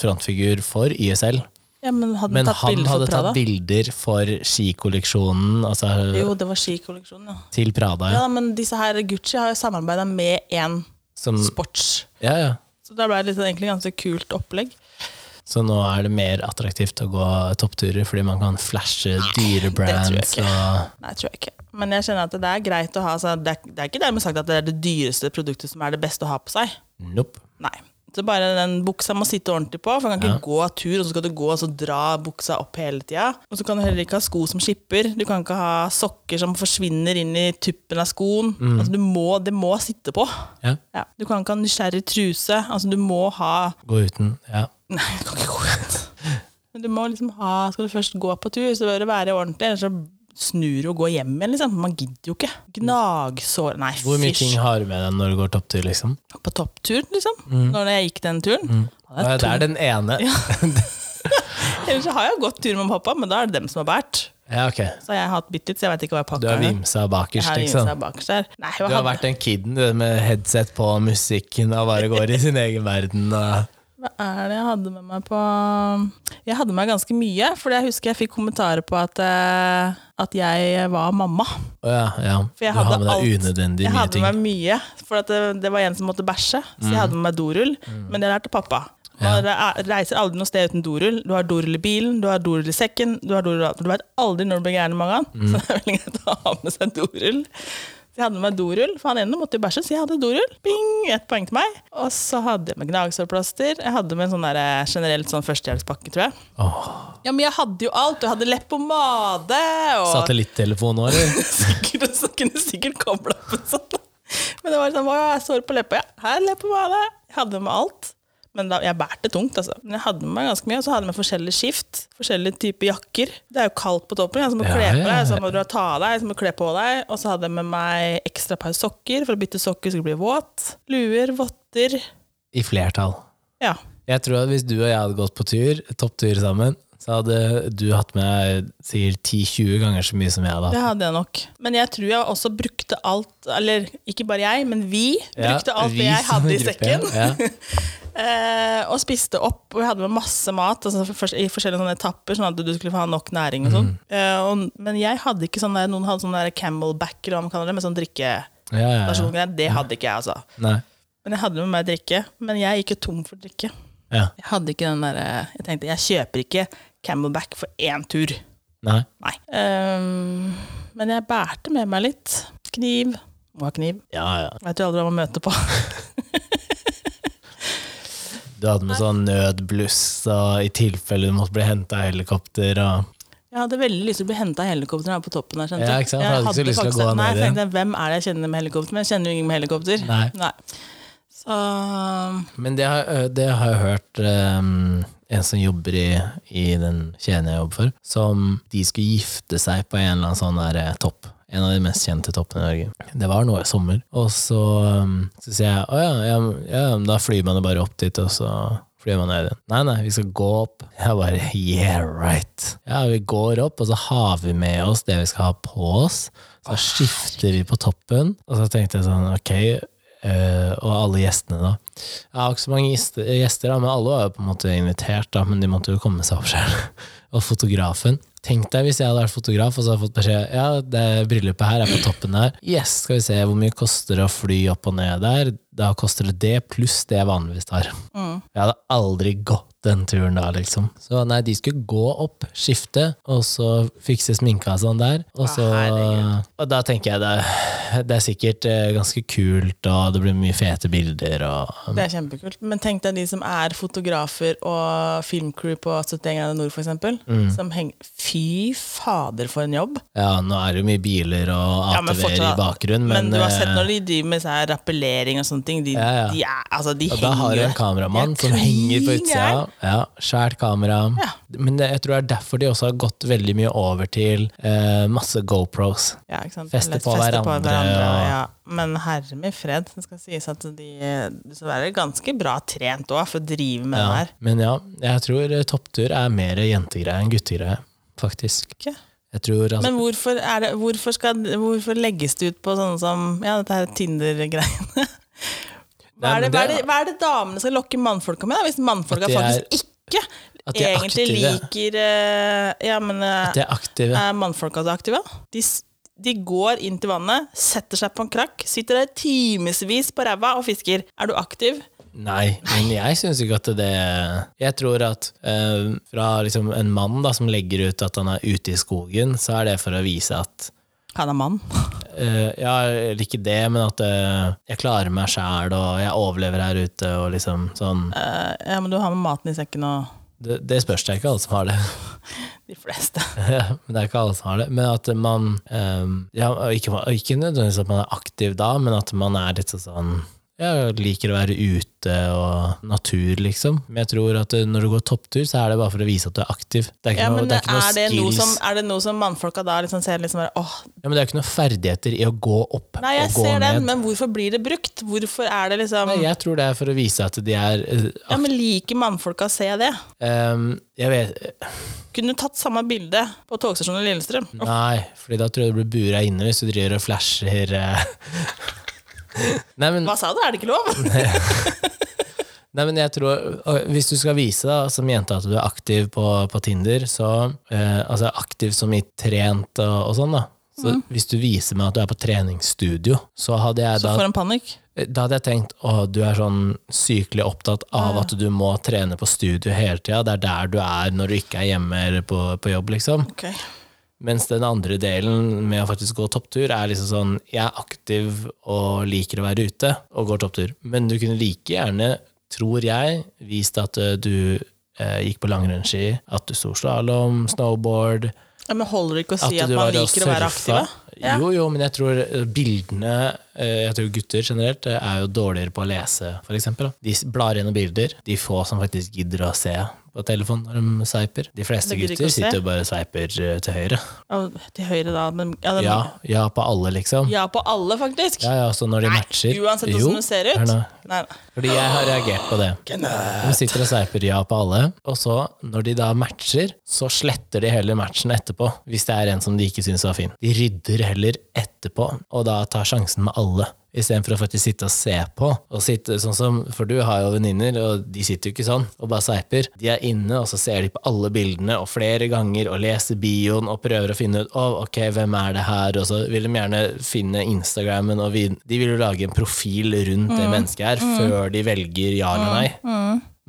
frontfigur for ISL. Ja, men hadde Men han tatt han bilder hadde for Prada? tatt bilder for skikolleksjonen altså, Jo, det var skikolleksjonen, ja. til Prada. Ja. Ja, men disse her Gucci har jo samarbeida med én Som, sports... ja, ja. Så da ble det litt, egentlig ganske kult opplegg. Så nå er det mer attraktivt å gå toppturer fordi man kan flashe dyre Ah, tror jeg brands. ikke. Og, Nei, tror jeg ikke. Men jeg kjenner at det er greit å ha så det, er, det er ikke dermed sagt at det er det dyreste produktet som er det beste å ha på seg. nope. Nei. Så bare den buksa må sitte ordentlig på, for du kan ikke gå tur, og så skal du gå og så dra buksa opp hele tida. Og så kan du heller ikke ha sko som skipper. Du kan ikke ha sokker som forsvinner inn i tuppen av skoen. Altså, du må, det må sitte på. Ja. Ja. Du kan ikke ha nysgjerrig truse. Altså, du må ha Gå uten. Ja. Nei, du kan ikke gå ut. Men du må liksom ha, skal du først gå på tur, så bør det være ordentlig, ellers så snur du og går hjem igjen, liksom. Man gidder jo ikke. Gnagsår Nei, Hvor mye ting fysj. har du med deg når du går topptur, liksom? På topptur, liksom. Mm. Når jeg gikk den turen. Ja, Ja, det er Det er den ene. Ja, to- Ellers så har jeg jo gått tur med pappa, men da er det dem som har båret. ok. Så har jeg hatt bitt litt, så jeg veit ikke hva jeg Du pakker. har her. vimsa Jeg bakerst, har liksom. vimsa bakerst der. Nei, jeg Du har hadde- vært den kiden du, med headset på og musikken og bare går i sin egen verden. Og... Hva er det jeg hadde med meg på Jeg hadde med meg ganske mye, for jeg husker jeg fikk kommentarer på at, eh, at jeg var mamma. Å ja, ja. For jeg du har hadde med deg alt. unødvendig Jeg mye hadde ting. Mm. med meg mye, for at det, det var en som måtte bæsje. Så jeg hadde med meg dorull, men det lærte pappa. Man re- reiser aldri noe sted uten dorull. Du har dorull i bilen, du har dorull i sekken. Du, har dorull, du vet aldri når du blir gæren i magen, Mm. så det er veldig greit å ha med seg dorull. Så jeg hadde med meg dorull, for han ene måtte jo bæsje, så jeg hadde dorull. Bing, ett poeng til meg. Og så hadde jeg med gnagsårplaster. Jeg hadde med en sånn der, eh, generelt sånn førstehjelpspakke, tror jeg. Åh, Ja, men jeg hadde jo alt. Jeg hadde leppepomade og Satellittelefon nå, eller? sikkert, så kunne jeg sikkert kobla opp en sånn. Men det var sånn, hva er sår på leppa? Ja, her er leppa var det. Jeg hadde med alt. Men da, jeg bærte tungt, altså. Men jeg hadde med meg ganske mye, og så hadde jeg med forskjellige skift. Forskjellige typer jakker. Det er jo kaldt på toppen, ja, så må du Ja, kle ja, på ja. deg, så må du ta av deg, så må du kle på deg. Og så hadde jeg med meg ekstra par sokker, for å bytte sokker så det blir våt. Luer, votter. I flertall. Ja. Jeg tror at hvis du og jeg hadde gått på tur, topptur sammen, så hadde du hatt med deg sikkert 10-20 ganger så mye som jeg hadde hatt. Det hadde jeg nok. Men jeg tror jeg også brukte alt, eller ikke bare jeg, men vi Ja, brukte alt vi det jeg som hadde i gruppe, sekken. Ja. Eh, og spiste opp, og jeg hadde med masse mat altså for- først- i forskjellige sånne etapper, sånn at du skulle få ha nok næring og sånn. Eh, og, men jeg hadde ikke sånn der, noen hadde sånn der camelback eller hva man kaller det, med sånn drikkestasjongreier. Ja, ja, ja. Det hadde ikke jeg, altså. Nei. Men jeg hadde med meg drikke. Men jeg gikk jo tom for drikke. Ja. Jeg hadde ikke den derre Jeg tenkte, jeg kjøper ikke camelback for én tur. Nei. Nei. Eh, men jeg bærte med meg litt. Kniv. Må ha kniv. Ja, ja. Veit jo aldri hva man møter på. Du hadde med sånn nødbluss, og i tilfelle du måtte bli henta av helikopter og Jeg hadde veldig lyst til å bli henta i helikopteret her på toppen. Der, skjønte Ja, du? ikke sant? For jeg hadde ikke så lyst til å faktisk- gå ned nei, jeg tenkte, Hvem er det jeg kjenner med helikopter? Men jeg kjenner jo ingen med helikopter. Nei. Så Men det har, ø, det har jeg hørt ehm, en som jobber i, i den kjeden jeg jobber for, som de skulle gifte seg på en eller annen sånn der eh, topp. En av de mest kjente toppene i Norge. Det var nå i sommer. Og så, ehm, så sier jeg å ja, ja, ja, men da flyr man jo bare opp dit, og så flyr man ned igjen. Nei, nei, vi skal gå opp. Jeg bare yeah, right. Ja, vi går opp, og så har vi med oss det vi skal ha på oss. Så skifter vi på toppen, og så tenkte jeg sånn ok, Eh, og alle gjestene, da. Jeg har ikke så mange gjester, gjester da, men alle var jo på en måte invitert, da, men de måtte jo komme seg opp selv. Og fotografen Tenk deg hvis jeg hadde vært fotograf og så hadde jeg fått beskjed ja, det bryllupet her er på toppen der. Yes, skal vi se hvor mye koster det å fly opp og ned der. Da koster det det pluss det jeg vanligvis tar. Mm. Jeg hadde aldri gått den turen da, liksom. Så nei, de skulle gå opp, skifte, og så fikse sminka og sånn der. Og, så, herregud. og da tenker jeg det, det er sikkert eh, ganske kult, og det blir mye fete bilder og Det er kjempekult. Men tenk deg de som er fotografer og filmcrew på 71 grader nord, for eksempel. Mm. Som henger Fy fader, for en jobb! Ja, nå er det jo mye biler og Ja, ATV-er men i fortsatt- bakgrunnen, men, du har sett eh, når de driver med sånn her rappellering og sånne ting. De, Ja, ja. de, er, altså, de Og da har henger du jo en kameramann De er som henger på klin utsida. Ja, Svært kamera. Ja. Men det, jeg tror det er derfor de også har gått veldig mye over til eh, masse GoPros. Ja, ikke sant? Feste Eller på hverandre, og- ja. Men herre min fred, det skal sies at de så er det ganske bra trent òg, for å drive med det Ja. her. Men ja, jeg tror eh, topptur er mer jentegreie enn guttegreie, faktisk. Ikke? Jeg tror altså, Men hvorfor, er det, hvorfor, skal, hvorfor legges det ut på sånne som ja, dette her Tinder-greiene? Nei, Hva er, det, men hva, er det, det- hva er det damene skal lokke mannfolka med, da, hvis mannfolka At de er- faktisk ikke at de er egentlig aktive. liker eh, Ja, men eh, at de er aktive. er mannfolka så aktive? De, s- de går inn til vannet, setter seg på en krakk, sitter der timevis på ræva og fisker. Er du aktiv? Nei, men jeg syns ikke at det Jeg tror at eh, fra liksom en mann da, som legger ut at han er ute i skogen, så er det for å vise at Han er mann. Eh, ja, eller ikke det, men at eh, jeg klarer meg sjæl, og jeg overlever her ute, og liksom sånn. Eh, ja, men du har med maten i sekken og Det, det spørs det er ikke alle som har det. de fleste. men det er ikke alle som har det. Men at man eh, ja, og ikke, og ikke nødvendigvis at man er aktiv da, men at man er litt sånn sånn jeg liker å være ute og natur, liksom. Men jeg tror at eh, når du går topptur, så er det bare for å vise at du er aktiv. Det er ikke Ja, noe, men det er ikke noe er det noe skills. som, er det noe som mannfolka da liksom ser liksom bare åh, Ja, men det er ikke noe ferdigheter i å gå opp Nei, jeg og gå ser ned. den, men hvorfor blir det brukt? Hvorfor er det liksom Nei, jeg tror det er for å vise at de er eh, Ja, men liker mannfolka å se det? Ehm, jeg vet Kunne du tatt samme bilde på togstasjonen i Lillestrøm? Nei, fordi da tror jeg du blir bura inne hvis du driver og flasher eh. nei, men, Hva sa du, er det ikke lov? nei, men jeg tror og Hvis du skal vise da, som jente at du er aktiv på, på Tinder, så eh, Altså aktiv som i trent og, og sånn, da. Så Hvis du viser meg at du er på treningsstudio, så hadde jeg Så da, for en panikk. da hadde jeg tenkt å, du er sånn sykelig opptatt av at du må trene på studio hele tida. Det er der du er når du ikke er hjemme eller på, på jobb, liksom. Ok. Mens den andre delen med å faktisk gå topptur er liksom sånn Jeg er aktiv og liker å være ute og går topptur. Men du kunne like gjerne, tror jeg, vist at eh, du eh, gikk på langrennsski, at du sto slalåm, snowboard Ja, men holder det ikke å si at, du man var og liker å være aktiv? surfa. da? Ja. Jo, jo, men jeg tror eh, bildene eh, Jeg tror gutter generelt eh, er jo dårligere på å lese, for eksempel. da. De s- blar gjennom bilder. De få som faktisk gidder å se på telefon når de sveiper. De fleste Det gidder ikke å gutter se. sitter jo bare og sveiper eh, til høyre. Og Til høyre, da. Men, ja, det, Ja, ja på alle, liksom. Ja. ja, på alle, faktisk. Ja, så når de matcher Uansett Jo, hvordan du ser hør ut. nå. Nei, Fordi jeg har reagert på det. De sitter og sveiper ja på alle, og så, når de da matcher, så sletter de hele matchen etterpå. Hvis det er en som de ikke syns var fin. De rydder heller etterpå, og da tar sjansen med alle. Istedenfor å faktisk sitte og se på. Og sitte sånn som, For du har jo venninner, og de sitter jo ikke sånn og bare sveiper. De er inne, og så ser de på alle bildene og flere ganger og leser bioen og prøver å finne ut oh, ok, hvem er det her, og så vil de gjerne finne Instagrammen og vi, De vil jo lage en profil rundt Mm. det mennesket her før de velger ja eller nei.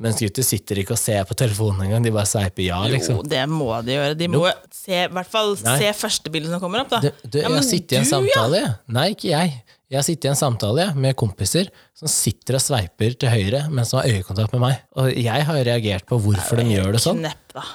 Mens gutter sitter ikke og ser på telefonen engang, de bare sveiper ja, liksom. Jo, det må de gjøre. De må se, i hvert fall Nei. se første bildet som kommer opp, da. Du, du, Ja, jeg men har sittet i en du, samtale, jeg. Nei, ikke jeg. Jeg har sittet i en samtale jeg, med kompiser som sitter og sveiper til høyre mens de har øyekontakt med meg. Og jeg har jo reagert på hvorfor de gjør det sånn. Knepp, da.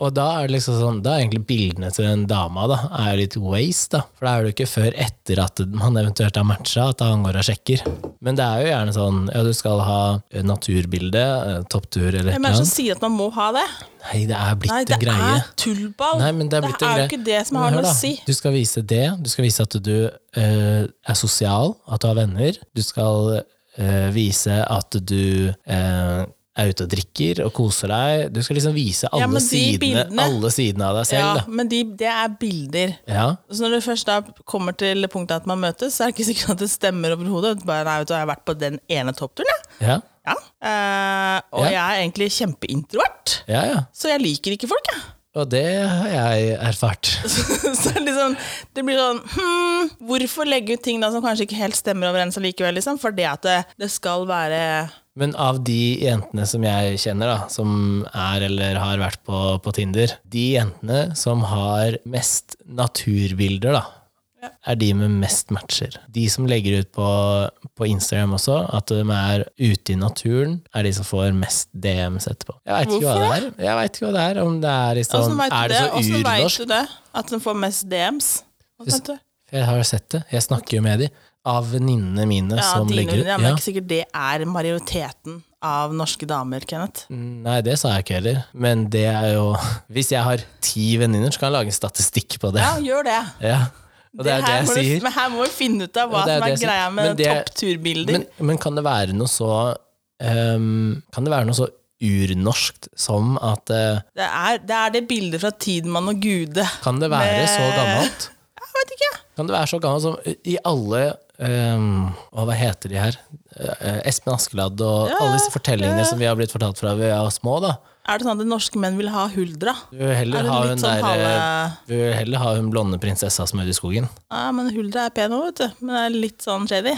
Og da er det liksom sånn, da er egentlig bildene til den dama da, er litt waste, da. For da er det jo ikke før etter at man eventuelt har matcha, at han går og sjekker. Men det er jo gjerne sånn, ja, du skal ha eh, naturbilde, eh, topptur eller et Hvem eller er det som annet. sier at man må ha det? Nei, det er blitt Nei, det en greie. er tullball. Nei, men det er, Det blitt er en jo greie. ikke det som Men har hør noe å da, si. Du skal vise det, du skal vise at du eh, er sosial, at du har venner. Du skal eh, vise at du eh, er ute og drikker og koser deg. Du skal liksom vise alle, men de sidene, bildene- alle sidene av deg Ja, selv. men de, det er bilder. Da. Ja, Så når det først da kommer til punktet at man møtes, så er det ikke sikkert at det stemmer overhodet. Bare, Nei, vet du, jeg har vært på den ene toppturen, jeg. ja. Ja. Eh, og Ja. jeg er egentlig kjempeintrovert, Ja, ja. så jeg liker ikke folk, jeg. Og det har jeg erfart. så liksom, det blir sånn hmm, Hvorfor legge ut ting da som kanskje ikke helt stemmer overens allikevel? Liksom? For det at det, det skal være Men av de jentene som jeg kjenner, da, som er eller har vært på, på Tinder, de jentene som har mest naturbilder, da, er de med mest matcher. De som legger ut på, på Instagram også, at de er ute i naturen, er de som får mest DMs etterpå. Jeg veit ikke hva det er. Jeg vet ikke hva det er, om det er i sånn Åssen veit Er du det det? så Åssen vet urnorsk? du det? At den får mest DMs? Hvordan vet du? Jeg har sett det. Jeg snakker jo med de. Av venninnene mine Ja, som dine, legger ja, ut. men det Ja. er ikke sikkert det er majoriteten av norske damer, Kenneth. Nei, det sa jeg ikke heller. Men det er jo Hvis jeg har ti venninner, så kan jeg lage en statistikk på det. Ja, gjør det. Ja. Og det er det her jeg må du, sier. Men her må vi finne ut av hva Og det er som det er jeg sier. greia Men med det- toppturbilder. Men, men kan det være noe så ehm, Kan det være noe så urnorskt som at eh, Det, er, det er det bildet fra Tidemann og Gude. Kan det være Med- så gammelt? Jeg vet ikke. Kan det være så gammelt som i alle ehm, å, Hva heter de her? Eh, Espen Askeladd og alle disse fortellingene som vi har blitt fortalt fra vi var små, da. Er det sånn at norske menn vil ha huldra? Du vil Er heller det ha litt hun sånn der, halve- eh, Du vil heller ha hun blonde prinsessa som er ute i skogen. Ja, men huldra er pen òg, vet du. Men det er litt sånn shady.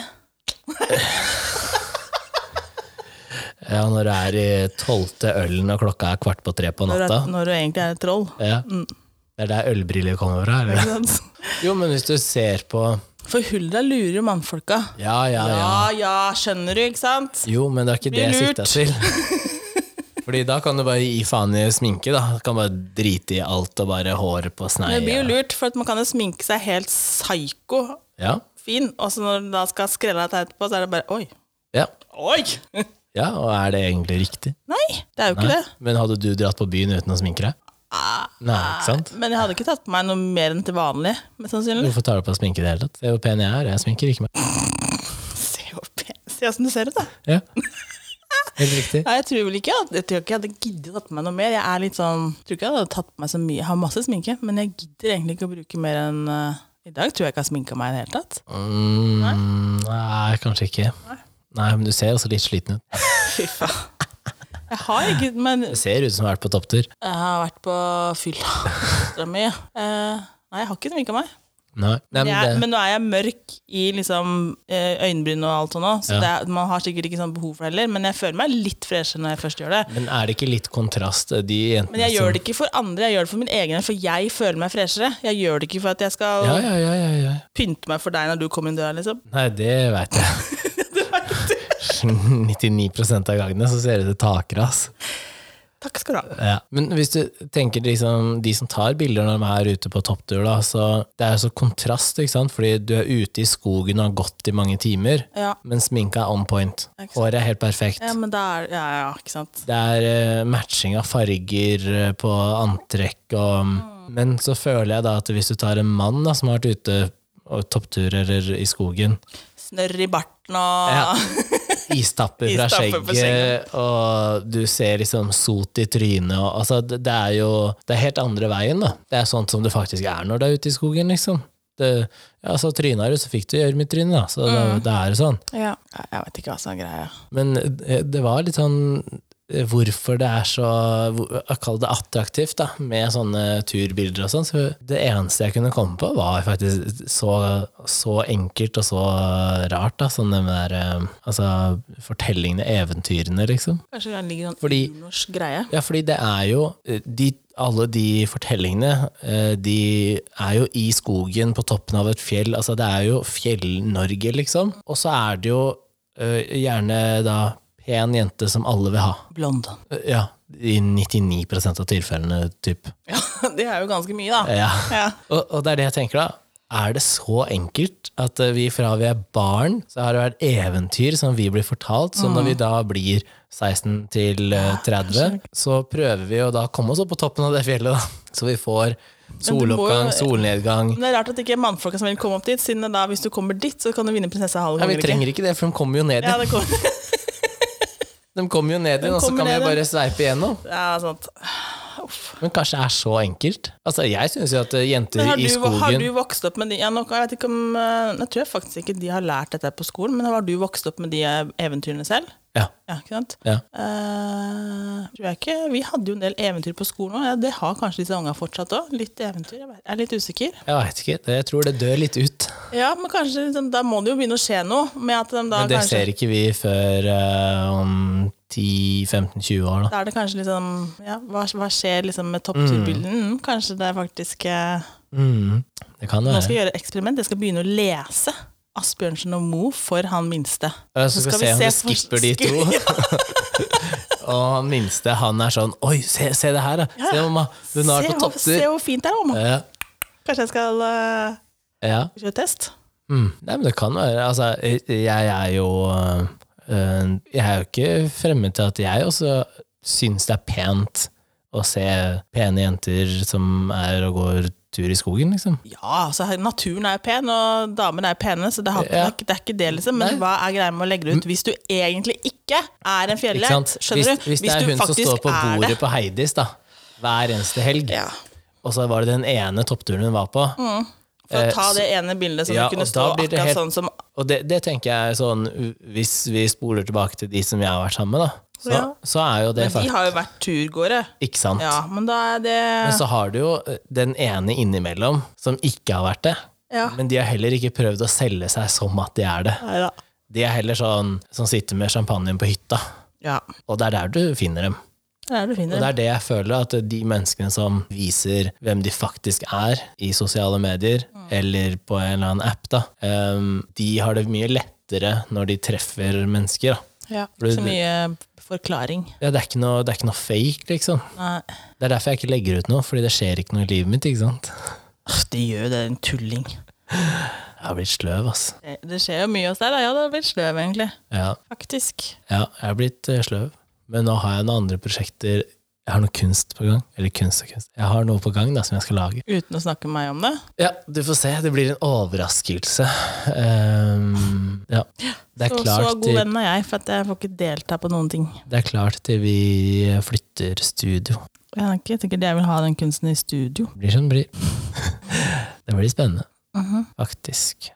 Ja, når du er i tolvte ølen og klokka er kvart på tre på Når, natta. du- når du egentlig er et troll. Ja. Det er der ølbriller kommer fra? Eller? Ikke sant? Jo, men hvis du ser på For huldra lurer jo mannfolka. Ja, ja, ja. Ja, ja, skjønner du, ikke sant? Jo, men det er ikke det Blir jeg lurt. sikta til. Fordi da kan du bare gi faen i sminke, da. Du kan bare drite i alt og bare håret på snei. Men det blir jo lurt, for at man kan jo sminke seg helt psyko Ja, fin, og så når du da skal skrelle deg etterpå, så er det bare oi. ja. Oi! ja, og er det egentlig riktig? Nei, det er jo ikke Nei. det. Ah, Men hadde du dratt på byen uten å sminke deg? Nei, ikke sant? Men jeg hadde ikke tatt på meg noe mer enn til vanlig, mest sannsynlig. Hvorfor tar du på sminke i det hele tatt? Se hvor pen jeg er, jeg sminker ikke meg. Se hvor pen Se åssen du ser ut, da. Ja. Helt riktig. Nei, jeg tror vel ikke at jeg tror ikke jeg hadde giddet å tatt på meg noe mer. Jeg er litt sånn, jeg tror ikke jeg hadde tatt på meg så mye. Jeg har masse sminke, men jeg gidder egentlig ikke å bruke mer enn eh, I dag tror jeg ikke jeg har sminka meg i det hele tatt. Mm, nei, kanskje ikke. Nei, men du ser også litt sliten ut. Fy faen. Jeg har ikke Men Det ser ut som du har vært på topptur. jeg har vært på fylla ekstra mye. Eh, nei, jeg har ikke sminka meg. Nei, nei Jeg, er- men det, men nå er jeg mørk i liksom eh, øyenbryn og alt sånt òg, så det er, man har sikkert ikke sånn behov for det heller. Men jeg føler meg litt freshere når jeg først gjør det. men er det ikke litt kontrast? eh, De jentene Men jeg som gjør det ikke for andre, jeg gjør det for min egen, for jeg føler meg freshere. Jeg gjør det ikke for at jeg skal Ja, ja, ja, ja, ja. pynte meg for deg når du kommer inn døra, liksom. Nei, det veit jeg. 99 av gangene så ser det ut til takras. Takk skal du ha. Ja. Men hvis du tenker liksom, de som tar bilder når de er ute på topptur, da, så det er jo så kontrast, ikke sant? fordi du er ute i skogen og har gått i mange timer, Ja. men sminka er on point. Ikke sant. Håret er helt perfekt. ja, men da er Ja, ja, ikke sant. Det er eh, matching av farger eh, på antrekk og mm. Men så føler jeg da at hvis du tar en mann da, som har vært ute og topptur eller i skogen, Snørr i barten og Ja. Istapper fra Istapper skjegget, på skjegget. og du ser liksom sot i trynet. Og, altså, det, det er jo det er helt andre veien, da. Det er sånn som det faktisk er når du er ute i skogen, liksom. Det, ja, så tryna du, så fikk du gjørmetryne, da. Så da- Mm. det er jo sånn. Ja. Ja, Jeg vet ikke hva som er greia. Men eh, det var litt sånn eh, Hvorfor det er så hvor- Jeg kaller det attraktivt da med sånne turbilder og sånn. Så det eneste jeg kunne komme på, var faktisk så, så enkelt og så rart. da Sånn den der eh, altså, fortellingene, eventyrene, liksom. Kanskje det ligger sånn en Fordi- norsk greie. Ja, fordi det er jo eh, de, Alle de fortellingene eh, De er jo i skogen På toppen av et fjell Altså det er jo fjell-Norge liksom Og så er det jo eh, gjerne da Pen jente som alle vil ha Blond. Eh, Ja, i 99% av tilfellene typ Ja, det er jo ganske mye, da. Ja Ja. og, og det er det jeg tenker da. Er det så enkelt at eh, vi fra vi er barn, så har det vært eventyr som vi blir fortalt, så Mm. når vi da blir 16 til eh, Ah, 30, så prøver vi å da komme oss opp på toppen av det fjellet, da. Så vi får soloppgang, jo- Mm. solnedgang. Men Det er rart at det ikke er mannfolka som vil komme opp dit, siden da hvis du kommer dit, så kan du vinne prinsesse Halv Nei, vi trenger ikke det, for de kommer jo ned Ja, igjen. det kom. De kommer jo ned igjen, og så kommer kan vi ned jo igjen. bare sveipe igjennom. ja, sant. Men kanskje det er så enkelt? Altså, jeg syns jo at eh, Men jenter har, i du, har skogen du vokst opp med de ja, nå, jeg, vet ikke om, eh, jeg tror faktisk ikke de har lært dette på skolen, men har du vokst opp med de eh, eventyrene selv? Ja. Ja, ikke sant? Ja. Eh, tror jeg ikke. Vi hadde jo en del eventyr på skolen òg. Ja, det har kanskje disse ungene fortsatt òg. Litt eventyr. Jeg vet- jeg er litt usikker. Jeg veit ikke. det- Jeg tror det dør litt ut. Ja, men kanskje liksom, Da må det jo begynne å skje noe. Med at de da Men det kanskje, ser ikke vi før eh, om 10-15-20 år, da. Da er det kanskje liksom ja, hva, hva skjer liksom med toppturbilden? Mm. Kanskje det er faktisk eh, Mm. Det kan Nå skal være. jeg gjøre et eksperiment. Jeg skal begynne å lese Asbjørnsen og Moe for han minste. Ja, Så skal, vi se om vi for- skipper de to. Og han minste, han er sånn Oi, se, se det her, da! Se, mamma, hun er se, på hvor- se topptur! hvor fint det er, mamma. Ja, Kanskje jeg skal eh, ja. kjøre test? Mm. Nei, men det kan være. Altså, jeg er jo øh, Jeg er jo ikke fremmed til at jeg også syns det er pent å se pene jenter som er og går tur i skogen, liksom. Ja, altså her- naturen er jo pen, og damene er pene, så det, har, Ja. det, er, ikke- det er ikke det, liksom. Men Nei. hva er greia med å legge det ut hvis du egentlig ikke er en Ikke sant? fjellhet? Skjønner hvis, du? Hvis det er du hun som faktisk står på er bordet på Heidis da, hver eneste helg, Ja, og så var det den ene toppturen hun var på, for Eh, å ta det ene bildet som ja, kunne og da stå blir det akkurat helt- sånn som Og det, det tenker jeg er sånn Hvis vi spoler tilbake til de som jeg har vært sammen med, da, så, Ja. så er jo det Men de faktisk har jo vært turgåere. Ikke sant? Ja, men da er det Men så har du jo den ene innimellom som ikke har vært det. Ja. Men de har heller ikke prøvd å selge seg som at de er det. Neida. De er heller sånn som sitter med champagnen på hytta, Ja. og det er der du finner dem. Det er det du Og finner. det er det jeg føler, at de menneskene som viser hvem de faktisk er i sosiale medier, eller på en eller annen app, da, em, de har det mye lettere når de treffer mennesker. Da. Ja. For det- Så mye forklaring. Ja, det, er ikke noe, det er ikke noe fake, liksom. Nei. Det er derfor jeg ikke legger ut noe, fordi det skjer ikke noe i livet mitt. ikke sant? Åh, Det gjør jo det, en tulling. Jeg har blitt sløv, ass. Det- Det skjer jo mye hos deg, da. Ja, det har blitt sløv, egentlig. Ja, Faktisk. ja jeg har blitt eh, sløv. Men nå har jeg noen andre prosjekter. Jeg har noe kunst på gang. Eller kunst og kunst. Jeg har noe på gang da, som jeg skal lage. Uten å snakke med meg om det. Ja, du får se. Det blir en overraskelse. Ehm, ja. Det er, Så, så klart god til, venn er jeg, for at jeg får ikke delta på noen ting. det er klart til vi flytter studio. Jeg er ikke sikkert jeg vil ha den kunsten i studio. Det blir som det blir. det blir spennende, faktisk.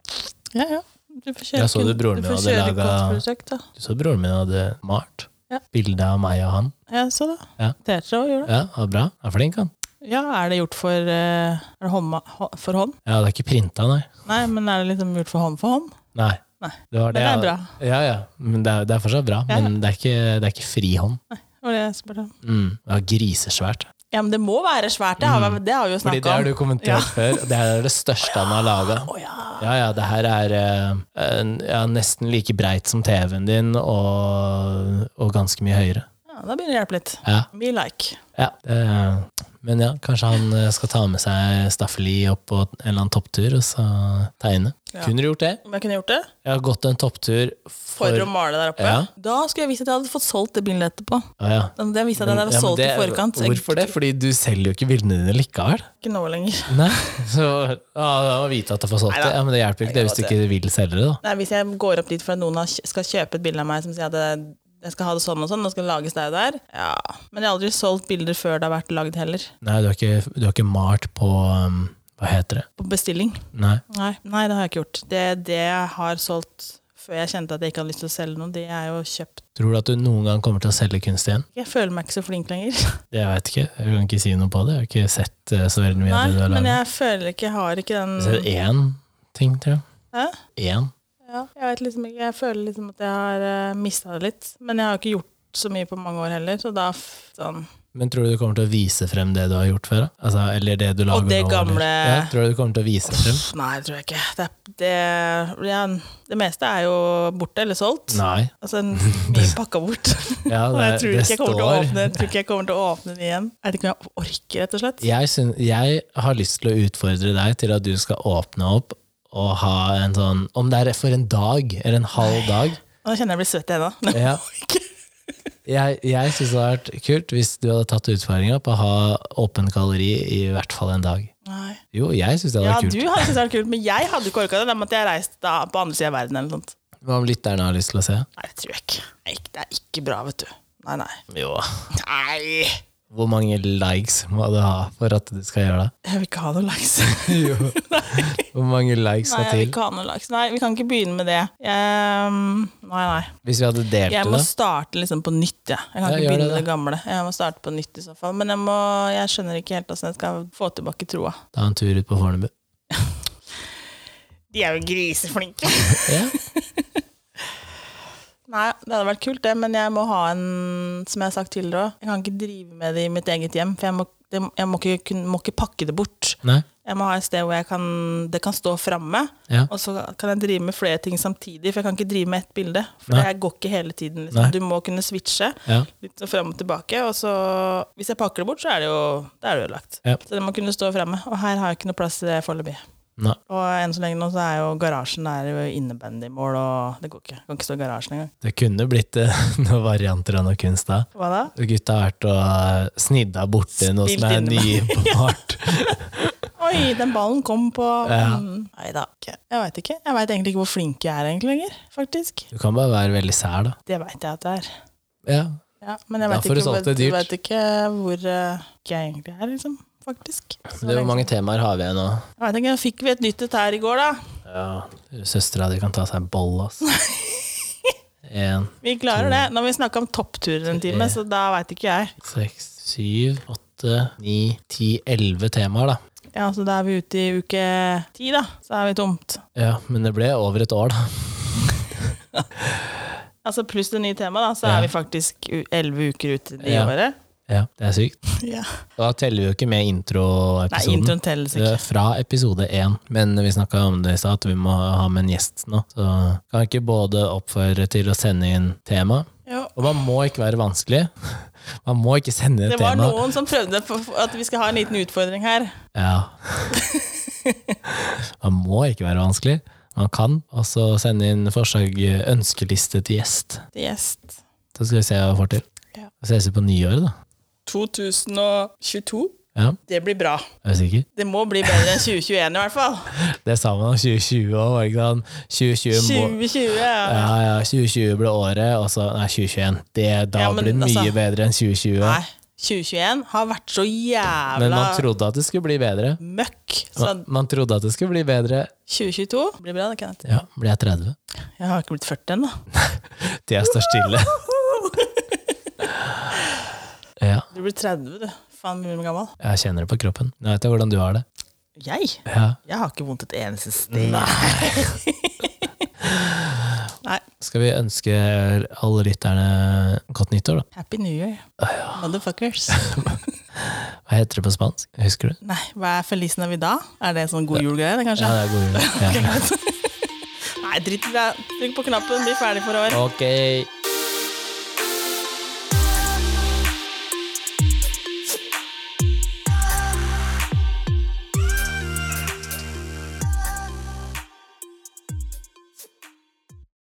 Ja, ja. Du får kjøre, Jeg så kun- det broren du min får hadde kjøre laget- kunstprosjekt, da. Du så broren min hadde malt Ja. bilde av meg og han. Jeg så det. Ja. Tetra og gjorde det. Ja, det var bra. Han er flink, han. Ja, er det gjort for, eh, er det håndma, hå- for hånd? Ja, det er ikke printa, nei. Nei, men er det liksom gjort for hånd for hånd? Nei. Nei. Det var Men det er bra. Ja, ja. Men det er, det er fortsatt bra. Ja, ja. Men det er ikke, det er ikke frihånd. Det var det jeg spurte om. Mm. Det var grisesvært. Ja, men det må være svært, det har, vi- det har vi jo Mm. Fordi snakket det har om. du kommentert Ja. før. og Det er det største han har laga. Å ja. Ja, ja, det her er eh, en- ja, nesten like breit som TV-en din, og, og ganske mye høyere. ja, da begynner det å hjelpe litt. Ja, Me like. ja. eh, men ja, kanskje han eh, skal ta med seg staffeli opp på en eller annen topptur, og så tegne. Ja. Kunne du gjort det? Om jeg kunne gjort det? Jeg har gått en topptur For, for, å male der oppe? Ja. Da skulle jeg visst at jeg hadde fått solgt det bildet etterpå. Å, ja. Da hadde Jeg visste at jeg Men- hadde ja, men solgt det, i det- forkant. Jeg Hvorfor det? Fordi du selger jo ikke bildene dine likevel. Ikke nå lenger. Nei, så ja, da må vite at du får solgt det. Neida. Ja, men det hjelper jo ikke det hvis du ikke vil selge det, da. Nei, Hvis jeg går opp dit for at noen har, kj- skal kjøpe et bilde av meg som sier at det- jeg skal ha det sånn og sånn, og skal det lages der og der Ja, Men jeg har aldri solgt bilder før det har vært lagd heller. Nei, du har ikke, du har ikke malt på um, Hva heter det? På bestilling. Nei. Nei, nei det har jeg ikke gjort. Det, det jeg har solgt før jeg kjente at jeg ikke hadde lyst til å selge noe, det er jo kjøpt. Tror du at du noen gang kommer til å selge kunst igjen? Jeg føler meg ikke så flink lenger. Det jeg vet ikke. Jeg kan ikke si noe på det. Jeg har ikke sett eh, så veldig mye Nei, av det du har men laget. jeg føler ikke Jeg har ikke Jeg ser den én ting, tror jeg. Hæ? Én. Ja, jeg vet liksom ikke. Jeg føler liksom at jeg har uh, mista det litt. Men jeg har ikke gjort så mye på mange år heller, så da f- sånn Men tror du du kommer til å vise frem det du har gjort før? da? Altså, eller det du lager det nå, eller- gamle- ja, Tror du du kommer til å vise frem? Pff, Nei, det tror jeg ikke. Det, er- det, ja, det meste er jo borte eller solgt. Nei. Altså mye pakka bort. Ja, Og det, jeg tror det ikke jeg kommer til å står- åpne Jeg tror ikke jeg kommer til å åpne den igjen. Jeg vet ikke om jeg orker, rett og slett. jeg, syn- jeg har lyst til å utfordre deg til at du skal åpne opp og ha en sånn Om det er for en dag eller en halv dag. Og da kjenner jeg blir svett i hendene. Ja. Jeg, jeg syns det hadde vært kult hvis du hadde tatt utfordringa på å ha åpent galleri i hvert fall en dag. Nei. Jo, jeg syns det hadde Ja, vært du kult. hadde syntes det var kult, men jeg hadde ikke orka det. Da måtte jeg reist da på andre sida av verden eller noe sånt. Hva om lytterne har lyst til å se? Nei, det tror jeg ikke. Nei, Det er ikke bra, vet du. Nei, nei. Jo. Nei! Hvor mange likes må du ha for at du skal gjøre det? Jeg vil ikke ha noe laks. Jo. Hvor mange likes Nei, skal jeg vil til? ikke ha noe laks. Nei, vi kan ikke begynne med det. Jeg, nei, nei. Hvis vi hadde delt Jeg det, må da? starte liksom på nytt, jeg. Jeg kan Ja, ikke gjør begynne det, med da. det gamle. Jeg må starte på nytt i så fall. Men jeg, må, jeg skjønner ikke helt åssen jeg skal få tilbake troa. Ta en tur ut på Fornebu. De er jo griseflinke. Ja. Nei, det hadde vært kult det, men jeg må ha en, som jeg har sagt tidligere òg, jeg kan ikke drive med det i mitt eget hjem, for jeg må, det, jeg må, ikke, kun- må ikke pakke det bort. Nei? Jeg må ha et sted hvor jeg kan, det kan stå framme, Ja. og så kan jeg drive med flere ting samtidig, for jeg kan ikke drive med ett bilde. For Nei. jeg går ikke hele tiden, Nei. liksom. Du må kunne switche Ja. litt så frem og tilbake, og så Hvis jeg pakker det bort, så er det jo, da er det ødelagt. Ja. Så det må kunne stå framme, og her har jeg ikke noe plass til det foreløpig. Nei. Og enn så lenge nå, så er jo garasjen der jo innebandymål, og det går ikke. Jeg kan ikke stå i garasjen engang. Det kunne blitt eh, noen varianter av noe kunst da. Hva da? Og Gutta har vært og snidda borti noe som er Spilt nybart. Oi, den ballen kom på Ja. mm, Nei da. ok. Jeg veit ikke. Jeg veit egentlig ikke hvor flink jeg er egentlig lenger, faktisk. Du kan bare være veldig sær, da. Det veit jeg at det er. Ja. Ja, men jeg Da veit får du ikke, solgt det hvor- jeg dyrt. vet ikke hvor eh, ikke jeg egentlig er, liksom. Faktisk. Det Så er lenge- Hvor mange temaer har vi igjen nå? Jeg vet ikke, fikk vi et nytt et her i går, da? Ja. Søstera di kan ta seg en bolle, ass. En, Vi klarer det. Nå har vi snakka om toppturer en time, så da veit ikke jeg. seks, syv, åtte, ni, ti, elleve temaer, da. Ja, Så da er vi ute i uke ti, da. Så er vi tomt. Ja, men det ble over et år, da. Altså pluss det nye temaet, da, så Ja. er vi faktisk u- elleve uker ute i det Ja. året. Ja, Det er sykt. Ja. Da teller vi jo ikke med Nei, introepisoden. introen telles Det ikke. er Fra episode én, men vi snakka om det i stad, at vi må ha med en gjest nå. Så kan vi ikke både oppfordre til å sende inn tema, Jo. og man må ikke være vanskelig. Man må ikke sende inn Det var tema. noen som prøvde for- for at vi skal ha en liten utfordring her. Ja. Man må ikke være vanskelig. Man kan også sende inn forslag, eh, ønskeliste til gjest. Til gjest. Så skal vi se hva vi får til. Ja. Så ses vi på nyåret, da. 2022. Ja, Det blir bra. er du sikker? Det må bli bedre enn 2021 i hvert fall. Det sa man om 2020 òg, var det ikke sånn? 2020 må 2020, ja. Ja, ja, 2020 ble året, og så Nei, 2021. Det, da Ja, men ble det mye altså- bedre enn 2020. Nei, 2021 har vært så men jævla man trodde at det skulle bli bedre. møkk. Så Man, man trodde at det skulle bli bedre. 2022 blir bra, det, Kenneth. Ja, ble jeg 30? Jeg har ikke blitt 40 ennå. Tida står stille. Ja, Du blir 30, du. Faen, blir du gammel? jeg kjenner det på kroppen. Nå vet jeg hvordan du har det. Jeg? Ja. Jeg har ikke vondt et eneste sted. Nei. Skal vi ønske alle lytterne godt nyttår, da? Happy New Year, motherfuckers. Hva heter det på spansk? Husker du? Nei, hva er Feliz Navidad? Er det sånn god jul-greie, det, Ja, kanskje? det er god jul. Ja. Nei, dritt i det. Trykk på knappen, bli ferdig for i år. Ok.